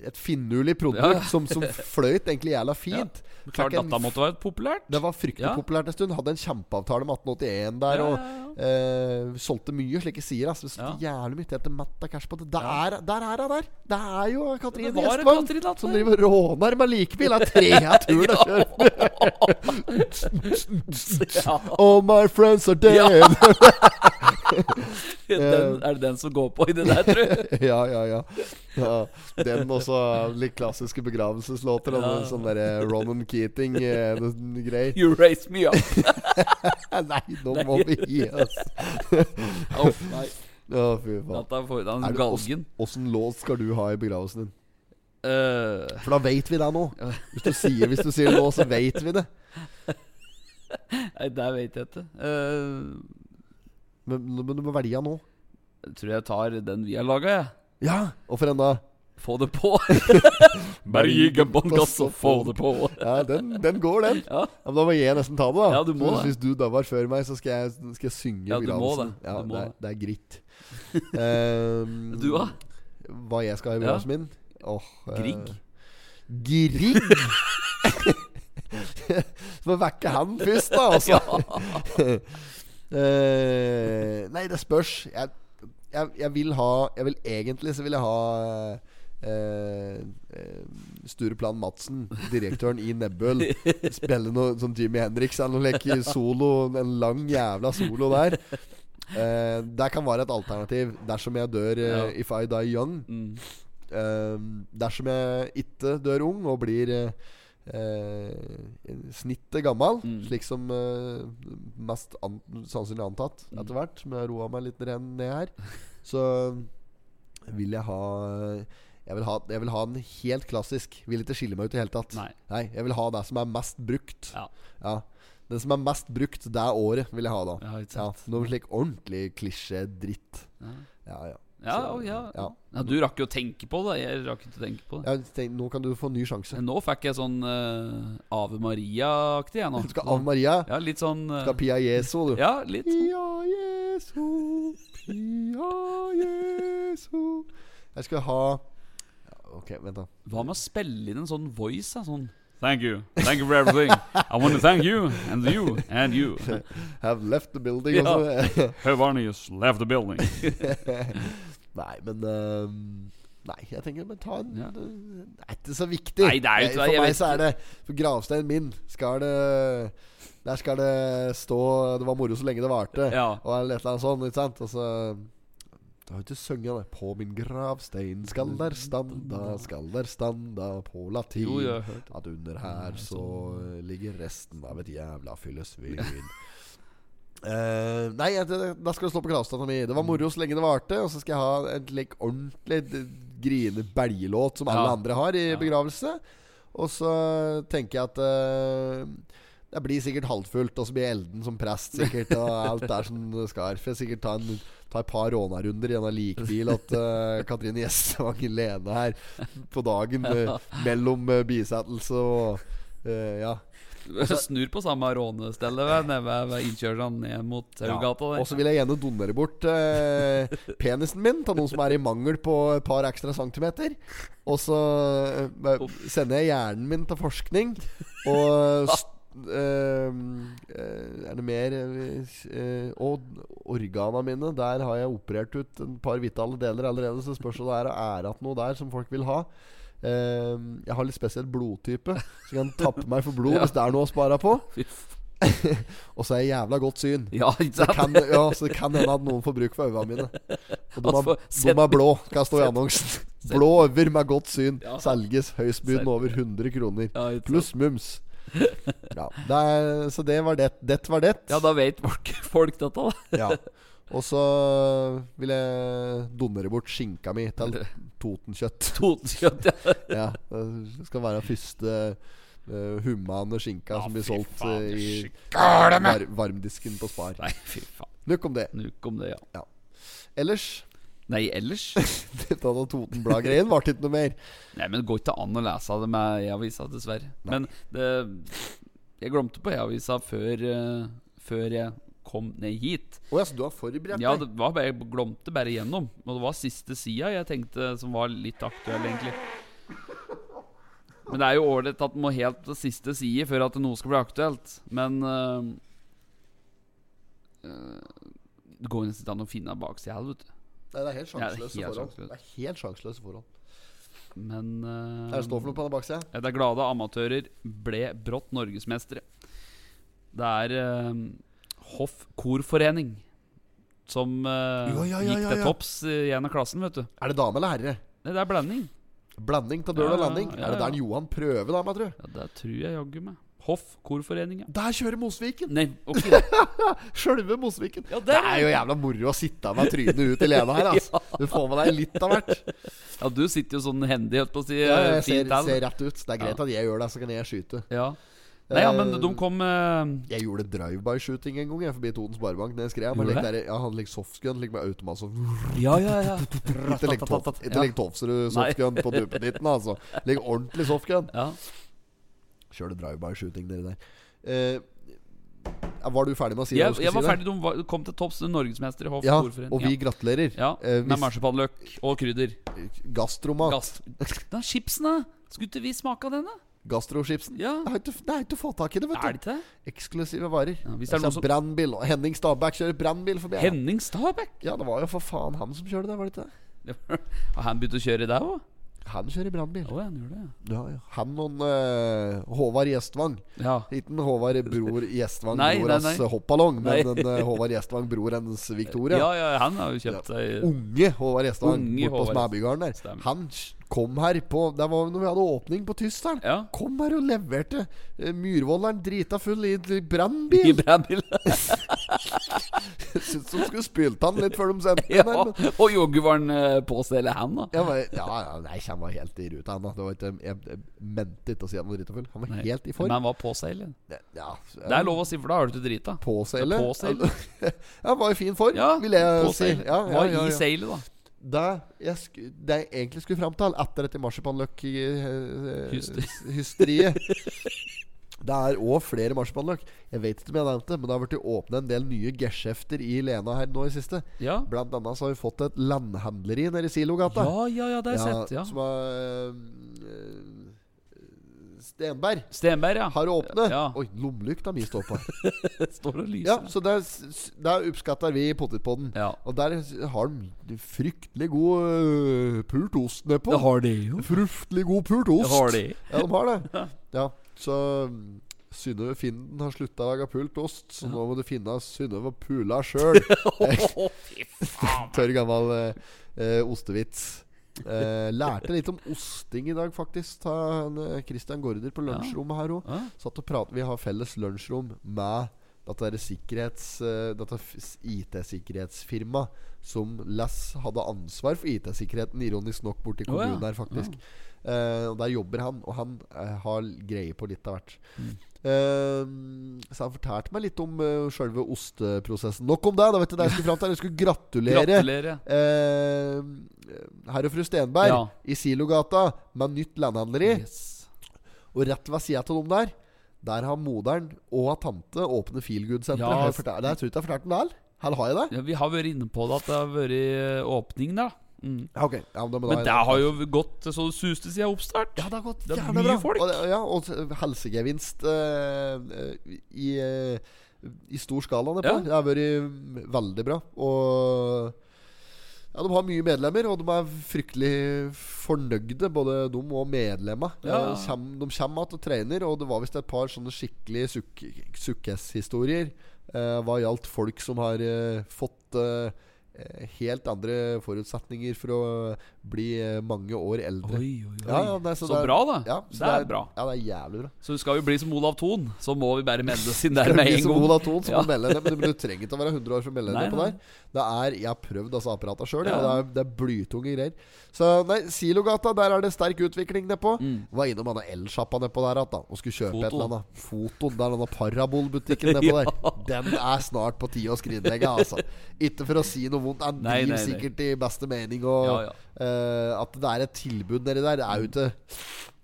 B: Et finurlig produkt
A: Ja.
B: som, som fløyt egentlig jævla fint.
A: Klart
B: Fikk en
A: dette måtte være populært.
B: det var fryktelig
A: Ja.
B: populært en stund. Hadde en kjempeavtale med 1881 der.
A: Ja,
B: Og eh, solgte mye slike sider. Altså, solgte jævlig mye til Matt av cash på det. Der, er- der er hun der! Det er jo
A: Det
B: Katrine
A: var
B: Gjestvang
A: Katrin
B: som
A: Atle.
B: driver og råner med likebil. Det er tredje turen jeg kjører. All my friends are dead. Eh.
A: Den, er det den som går på i det der, tror jeg?
B: ja, ja, ja. ja. Den også litt klassiske begravelseslåter. og noen Sånn derre Ronan eh, Keating-greier.
A: You raise me up.
B: sånn Nei, nå må vi gi oss.
A: Oh, nei.
B: Å, fy faen.
A: Dette er foran
B: Er det
A: galgen.
B: ås- Åssen låt skal du ha i begravelsen din?
A: Eh,
B: For da veit vi det nå. Hvis du sier, hvis du sier nå, så veit vi det.
A: nei, der vet jeg ikke. Eh,
B: Men, men du må velge nå.
A: jeg tror jeg tar den vi har laga, jeg.
B: Ja! Og for en da?
A: Få det på. Bare gi gammon gass og få det på.
B: Ja, den, den går, den.
A: Ja.
B: men da må jeg nesten ta det, da.
A: Ja, du må
B: Så
A: det.
B: Hvis du da var før meg, så skal jeg, skal jeg synge
A: Ja, du må
B: begravelsen.
A: det. Du må
B: det, er,
A: det.
B: det er gritt. Ehm,
A: Du da?
B: Hva jeg skal ha i
A: Ja.
B: begravelsen min? Åh, eh,
A: Grieg?
B: Grieg? Så må vekke han først, da, altså. Eh, nei, det spørs. Jeg, jeg, jeg vil ha Jeg vil Egentlig så vil jeg ha eh, eh, Stureplan Madsen, direktøren i Nebbøl, spille noe sånn Jimmy Henriks eller noe leke solo. En lang jævla solo der. Eh, det kan være et alternativ dersom jeg dør eh,
A: Ja.
B: If I die young.
A: Mm.
B: Ehm, dersom jeg ikke dør ung og blir eh, eh, snittet gammel,
A: Mm.
B: slik som eh, mest an sannsynlig antatt
A: Mm.
B: etter hvert, med roa meg litt ren- ned her, så vil jeg ha jeg vil ha, jeg vil ha den helt klassisk. Vil ikke skille meg ut i det hele tatt.
A: Nei.
B: Jeg vil ha det som er mest brukt.
A: Ja.
B: Den som er mest brukt det året, vil jeg ha da.
A: Ja, ikke
B: Ja,
A: sant.
B: noe slik ordentlig klisjé-dritt. Ja, ja.
A: Ja,
B: Så,
A: å, ja.
B: ja.
A: ja, du rakk jo å tenke på det. Jeg rakk ikke å tenke på det.
B: Jeg tenkte, nå kan du få en ny sjanse.
A: Men Nå fikk jeg sånn eh, Ave Maria-aktig, jeg nå.
B: Du skal Ave Maria.
A: Ja, litt sånn eh,
B: Skal Pia Jesu, du.
A: Ja, litt. sånn.
B: Pia Jesu, Pia Jesu Jeg skal ha Ja, Ok, vent, da.
A: Hva med å spille inn en sånn voice? Da? Sånn Thank you. Thank you for everything. I want to thank you and you and you.
B: Have left the building. altså.
A: Ja.
B: Også.
A: Have Arnius left the building.
B: nei, men ehm, Nei, jeg tenker men ta en
A: Ja.
B: Det er ikke så viktig.
A: Nei,
B: Eh,
A: det er jo ikke-
B: For
A: jeg
B: meg
A: vet
B: så er det For gravsteinen min skal det Der skal det stå 'Det var moro så lenge det varte',
A: Ja.
B: og eller et eller annet sånt. Ikke sant? Og så Du har jo ikke sunget det. 'På min gravstein skal der standa, skal der standa på latin'.
A: Jo, jeg har hørt
B: At under her så
A: sånn.
B: ligger resten av et jævla fyllesvin. Eh, nei, jeg- det- da skal du slå på gravstanda mi. Det var
A: Mm.
B: moro så lenge det varte. Og så skal jeg ha en like, ordentlig d- griende belgelåt som alle
A: Ja.
B: andre har i begravelse. Og så tenker jeg at eh, det blir sikkert halvfullt, og så blir jeg Elden som prest, sikkert. Og alt er som det skal. For jeg sikkert ta, en, ta et par rånarunder i en likbil at eh, Katrine Gjestvang Lene her på dagen eh, mellom eh, bisettelse og eh, Ja.
A: Snur på samme rånestellet ved, nede ved, ved innkjørselen sånn ned mot Saugata
B: Og
A: der.
B: så vil jeg gjerne donere bort eh, penisen min til noen som er i mangel på et par ekstra centimeter. Og så eh, sender jeg hjernen min til forskning. Og s- eh, eh, Er det mer eh, Og organa mine, der har jeg operert ut en par vitale deler allerede. Så spørs om det er ære at noe der som folk vil ha. Eh, jeg har litt spesiell blodtype, så jeg kan tappe meg for blod hvis det er noe å spare på.
A: Fy f-
B: Og så er jeg jævla godt syn.
A: Ja, ikke
B: Så det
A: sant?
B: kan, ja, så det kan hende at noen får bruk for øynene mine. Og de,
A: Altså,
B: er, de
A: sett-
B: er blå, kan stå i annonsen. Blå øver med godt syn.
A: Ja.
B: Selges høystbuden over 100 kroner.
A: Ja, ikke sant?
B: Pluss mums. Ja, det er, så det var det. Det var det.
A: Ja, da vet folk, folk dette, da.
B: Ja. Og så vil jeg donere bort skinka mi til Totenkjøtt.
A: Totenkjøtt, ja.
B: Ja, det skal være første eh, humane skinka som blir solgt eh, i var varmdisken på Spar.
A: Nei, fy faen.
B: Nok om det.
A: Nuk om det, ja.
B: Ellers
A: Nei, ellers
B: Dette hadde Totenbladet-greien vart Altså, ikke noe mer.
A: Nei, men det går ikke an å lese av det med e-avisa, dessverre. Men det, jeg glemte på e-avisa før, eh, før jeg kom ned hit.
B: Å ja, så du har forberedt
A: Ja,
B: deg?
A: det var bare, jeg glemte bare gjennom. Og det var siste sida jeg tenkte som var litt aktuell, egentlig. Men det er jo ålreit at en må helt til siste side før at noe skal bli aktuelt. Men eh, eh, Det går jo nesten ikke an å finne baksida her, vet du.
B: Nei, det er
A: Ja, det
B: helt
A: er
B: sjanseløse
A: helt
B: forhold.
A: sjanseløst.
B: Det er helt sjanseløse forhold.
A: Men eh,
B: Er det stå for noe på den baksida?
A: Ja, Det er glade amatører ble brått norgesmestere. Det er eh, Hoff korforening som eh,
B: Ja, ja, ja,
A: gikk
B: ja,
A: til
B: ja.
A: topps i en av klassen, vet du.
B: Er det dame eller herre?
A: Nei, det er blanding.
B: Blanding av døl
A: Ja,
B: og landing.
A: ja,
B: Er det
A: ja.
B: der Johan prøver, da, tror jeg?
A: Ja, Det tror jeg jaggu meg. Hoff korforening, ja.
B: Der kjører Mosviken!
A: Nei, ok da.
B: Sjølve Mosviken.
A: Ja,
B: det
A: der,
B: er jo jævla moro å sitte med trynet ut i lena her, altså. Du får med deg litt av hvert.
A: ja, du sitter jo sånn hendig, holdt på å si.
B: Ja, jeg
A: fint
B: ser,
A: tall.
B: ser rett ut. Det er greit
A: Ja.
B: at jeg gjør det, så kan jeg skyte.
A: Ja. Nei, ja, men
B: Eh,
A: de kom eh,
B: Jeg gjorde drive-by-shooting en gang Jeg forbi Toten Sparebank. Når jeg skrev
A: Gjorde
B: men
A: det?
B: legg der, ja, Han legger softgun Legger med automat sånn.
A: Ja, ja, ja.
B: Ikke legg tof- ikke legg Tofserud softgun på tuppen din, altså. Legg ordentlig softgun.
A: ja.
B: Kjør det drive-by-shooting, dere der. Eh, ja, var du ferdig med å si
A: Jeg,
B: det du skulle
A: jeg var
B: si?
A: ferdig, de var- kom til topps norgesmester i Hoff
B: Ja,
A: korforening.
B: og vi gratulerer.
A: ja.
B: Eh,
A: ja, med
B: hvis-
A: marsipannløk og krydder.
B: Gastromat.
A: Gass. Den chipsen, da? Skulle ikke vi smake av denne?
B: Gastrochipsen.
A: Ja.
B: Det er ikke- det er ikke å få tak i det,
A: Er
B: vet
A: det
B: du.
A: ikke det?
B: Eksklusive varer.
A: Ja, hvis det er
B: Altså,
A: noen som-
B: Brannbil. Og Henning Stabæk kjører brannbil forbi. her.
A: Henning Stabæk?
B: Ja, det var jo for faen han som kjørte det, var det ikke det?
A: Har han begynt å kjøre der òg?
B: Han kjører brannbil.
A: Å, ja, han gjør det,
B: Ja, ja. Han og en, eh, Håvard Gjestvang.
A: ja.
B: Ikke en Håvard Bror Gjestvang
A: Nei,
B: bror
A: nei,
B: hans
A: nei.
B: hoppballong, men
A: Nei.
B: en eh, Håvard Gjestvang bror hennes
A: Ja.
B: Victoria.
A: ja, ja, han har jo kjøpt seg
B: Unge Håvard Gjestvang
A: Unge
B: borte på
A: Håvard.
B: Smæbygarden der.
A: Stemmer.
B: Han s- kom her på Det var jo når vi hadde åpning på Tysteren.
A: Ja.
B: Kom her og leverte eh, myrvolderen drita full i i
A: I
B: brannbil.
A: brannbil.
B: Syns de skulle spylt han litt før de sendte
A: Ja.
B: den her. men-
A: Og joggu var han eh, på seg, eller han, da.
B: Jeg var, ja, ja, nei, han var helt i ruta. Han, da. det var ikke, jeg, jeg mente ikke å si han var drita full. Han var
A: Nei.
B: helt i
A: Men
B: form.
A: han var på seg, eller?
B: Ja,
A: Det er lov å si, for da har du ikke drita.
B: På seilet?
A: På seilet.
B: Ja, var i fin form,
A: Ja,
B: vil jeg
A: på
B: si.
A: seilet.
B: Ja, ja,
A: Var
B: ja,
A: i
B: ja.
A: seilet, da.
B: Det jeg, sku, det jeg egentlig skulle fram til, etter dette marsipanløk-hysteriet Hysteriet Det er òg flere marsipanløk. Jeg vet ikke om jeg nevnte det, men det har blitt åpnet en del nye geskjefter i Lena her nå i siste.
A: Ja,
B: Blant annet så har vi fått et landhandleri nede i Silogata.
A: ja, ja, ja det har jeg sett. Ja.
B: Som er øh, øh, Stenberg.
A: Stenberg, ja.
B: Har åpnet.
A: Ja.
B: Oi, lommelykta mi står på.
A: Står og
B: Ja,
A: lyser.
B: så der, s- der oppskatter vi potetpodden.
A: Ja.
B: Og der har de fryktelig god øh, pult ost nedpå.
A: har de jo.
B: Fruftlig god pult ost.
A: Det har de.
B: Ja, de har det. Ja, så mm, Synnøve Finden har slutta å lage pult ost, så nå må du finne Synnøve og pula sjøl. Tørr gammel eh, eh, ostevits. Eh, lærte litt om osting i dag, faktisk. Ta en, eh, Christian Gaarder på lunsjrommet her òg.
A: Ja.
B: Satt og pratet. Vi har felles lunsjrom med dette der sikkerhets eh, Dette f- IT-sikkerhetsfirma som Lass hadde ansvar for IT-sikkerheten, ironisk nok, borti
A: Å, ja.
B: kommunen her, faktisk. Eh, og Der jobber han, og han eh, har greie på litt av hvert.
A: Mm.
B: Eh, så han fortalte meg litt om uh, sjølve osteprosessen. Nok om det! da vet du det Jeg skulle fram til Jeg skulle gratulere,
A: Gratulerer.
B: eh, herr og fru Stenberg
A: Ja.
B: i Silogata med nytt landhandleri.
A: Yes.
B: Og rett ved sida av dem der, der har moderen og av tante åpne Feelgood-senteret.
A: Ja,
B: Har jeg fortalt- Jeg tror ikke jeg har fortalt den der. Her har jeg det.
A: Ja, vi har vært inne på det at det har vært eh, åpning, da. Mm.
B: Ja, ok. ja, men da,
A: Men det har jo gått eh, så det suste siden oppstart.
B: Ja, det har gått
A: Det er
B: jævla
A: mye
B: bra.
A: folk.
B: Og, ja, og helsegevinst eh, eh, i, eh, i stor skala. Det,
A: Ja.
B: på. det har vært mm, veldig bra. Og ja, De har mye medlemmer, og de er fryktelig fornøyde, både de og medlemmene.
A: Ja.
B: Eh, kjem- De kommer igjen og trener, og det var visst et par sånne skikkelig sukk- sukkes-historier eh, hva gjaldt folk som har eh, fått eh, eh, helt andre forutsetninger for å bli eh, mange år eldre.
A: Oi, oi, oi.
B: Ja, ja, nei, så
A: så
B: det er-
A: bra, da.
B: Ja,
A: det,
B: så
A: er, bra.
B: Ja, det er jævlig bra.
A: Så skal vi bli som Olav Thon, så må vi bare melde oss inn
B: Det
A: der
B: er
A: med
B: ikke
A: en
B: så god
A: gang.
B: av ton som å melde deg, men du, du trenger ikke å være 100 år for å melde
A: Nei,
B: deg på
A: nei.
B: der. Det er, jeg har prøvd altså apparatet sjøl, og det
A: Ja.
B: er, det er blytunge greier. Så nei, Silogata, der er det sterk utvikling nedpå.
A: Mm.
B: Var innom denne elsjappa nedpå der att, da, og skulle kjøpe
A: Foto.
B: et eller annet. Foton. Det er denne parabolbutikken nedpå der. Den er snart på tide å skrinlegge, altså. Ikke for å si noe vondt. Han
A: Nei,
B: driver
A: nei, nei.
B: sikkert i beste mening. Og
A: Ja, ja.
B: eh, at det er et tilbud nedi der, det er jo ikke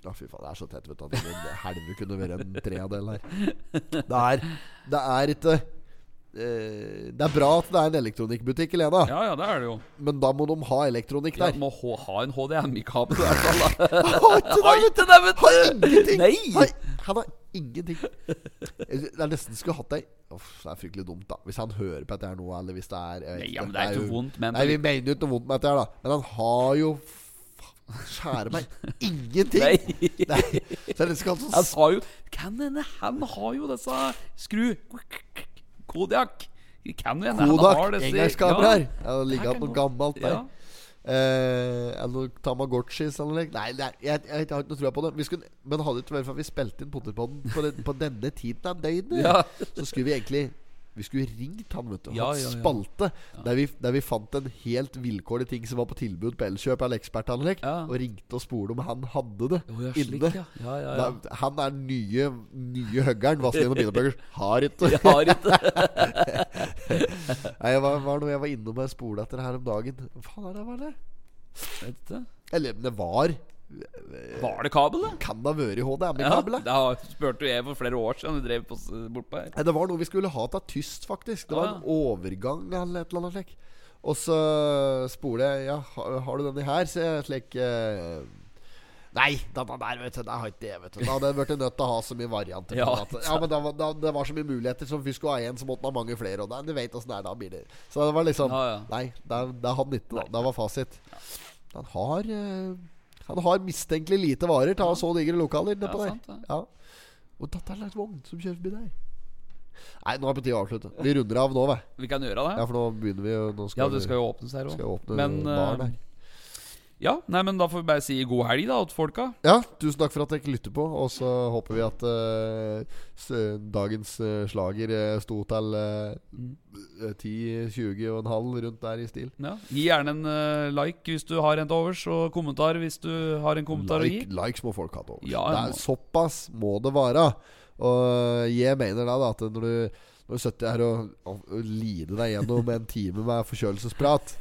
B: Å, fy faen, det er så tett, vet du. at en Helvete kunne vært en tredel her. Det er, det er ikke eh, Det er bra at det er en elektronikkbutikk i Lena,
A: Ja, ja, det er det jo.
B: men da må de ha elektronikk
A: Ja,
B: der.
A: må ha, ha en HDMI-kabel. i hvert fall, da.
B: Har ikke det, vet du! Har ingenting!
A: Nei.
B: Har, han har ingenting. Det er nesten skulle hatt ei Uff, Det er fryktelig dumt, da. Hvis han hører på dette her nå, eller hvis det er jeg vet
A: Nei,
B: ikke,
A: ja, men det er ikke
B: jo-
A: vondt, men-
B: Nei, vi mener jo ikke noe vondt med dette her, da. Men han har jo faen, Skjære meg ingenting!
A: Nei.
B: Nei. Så jeg nesten skulle hatt
A: Han
B: sånn
A: har jo Kan hende han har jo disse skru... Kodak. Kan hende han har
B: Kodak
A: disse
B: engangskameraer. Ja, det
A: Her
B: ligger igjen
A: kan
B: noe
A: gå-
B: gammelt der.
A: Ja.
B: Eh, eller noe Tamagotchis eller noe. Nei, nei jeg, jeg, jeg har ikke noe tro på det. Vi skulle, men hadde det ikke vært for at vi spilte inn Potterpodden på, den, på denne tiden av døgnet,
A: Ja.
B: så skulle vi egentlig Vi skulle ringt han, vet du.
A: Ja,
B: hatt
A: ja, ja.
B: spalte Der, vi, der vi fant en helt vilkårlig ting som var på tilbud på Elkjøp eller Ekspertanlegg,
A: Ja.
B: og ringte og spurte om han hadde det
A: Å, ja, slik,
B: inne.
A: ja. Ja, ja, ja.
B: Da, han er den nye, nye huggeren. Vazelina Bilopphøggers har ikke
A: Jeg har ikke
B: Nei, jeg var, var noe jeg var innom og spola etter her om dagen. Hva faen er det, var det?
A: Vet du.
B: Eller men det var
A: Eh, Var det kabel, da?
B: Kan det ha vært
A: Ja,
B: HDMI-kabel? da?
A: da spurte jo jeg for flere år siden. Du drev på, bortpå her.
B: Nei, Det var noe vi skulle ha til tyst, faktisk. Det var
A: Ah,
B: en overgang eller et eller annet slik. Og så spoler jeg Ja, har, har du denne her? Så jeg slik eh, Nei, den der, vet du. Det har ikke det, vet du. Da hadde jeg blitt nødt til å ha så mye varianter. på
A: Ja,
B: det at- ja men da, var- da, Det var så mye muligheter. Som først skulle ha én, så måtte han ha mange flere. Og da, du vet åssen det er, da blir det Så det var liksom
A: Ja, ja.
B: Nei, det, det hadde han ikke. Da. Det var fasit. Han har eh, Han har mistenkelig lite varer til å ha så digre lokaler
A: Ja,
B: nedpå der.
A: sant, det.
B: Ja. Og dette er en vogn som kjører forbi der. Nei, nå er det på tide å avslutte. Vi runder av nå, vi.
A: Vi kan gjøre det.
B: Ja, for nå begynner vi jo Nå skal,
A: Ja, det skal jo åpnes her òg.
B: vi skal jo åpne
A: Men
B: baren
A: eh,
B: her.
A: ja, nei, men da får vi bare si god helg da til folka.
B: Ja, tusen takk for at dere lytter på, og så håper vi at eh, s- dagens eh, slager eh, sto til eh,
A: Mm.
B: 10-20 og en halv rundt der i stil.
A: Ja. Gi gjerne en eh, like hvis du har en til overs, og kommentar hvis du har en kommentar
B: Like,
A: å gi.
B: likes må folk ha til overs.
A: Ja,
B: det
A: jeg
B: er,
A: må-
B: såpass må det være. Og eh, jeg mener da, da at når du, når du sitter her og, og, og lider deg gjennom en time med forkjølelsesprat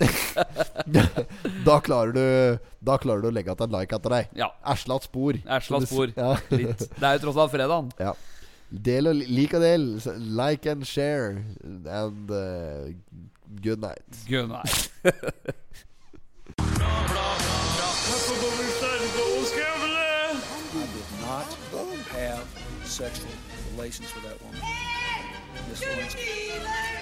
B: da, klarer du, da klarer du å legge igjen en like etter deg.
A: Ja.
B: Æsla et spor.
A: Æsla et
B: som du s-
A: spor.
B: Ja.
A: Litt. Det er jo tross alt fredagen.
B: ja. Del og li- lik og del. Like and share. And uh, good night.
A: Gud, nei.
C: I did not have sexual relations with that woman. Miss Lewinsky.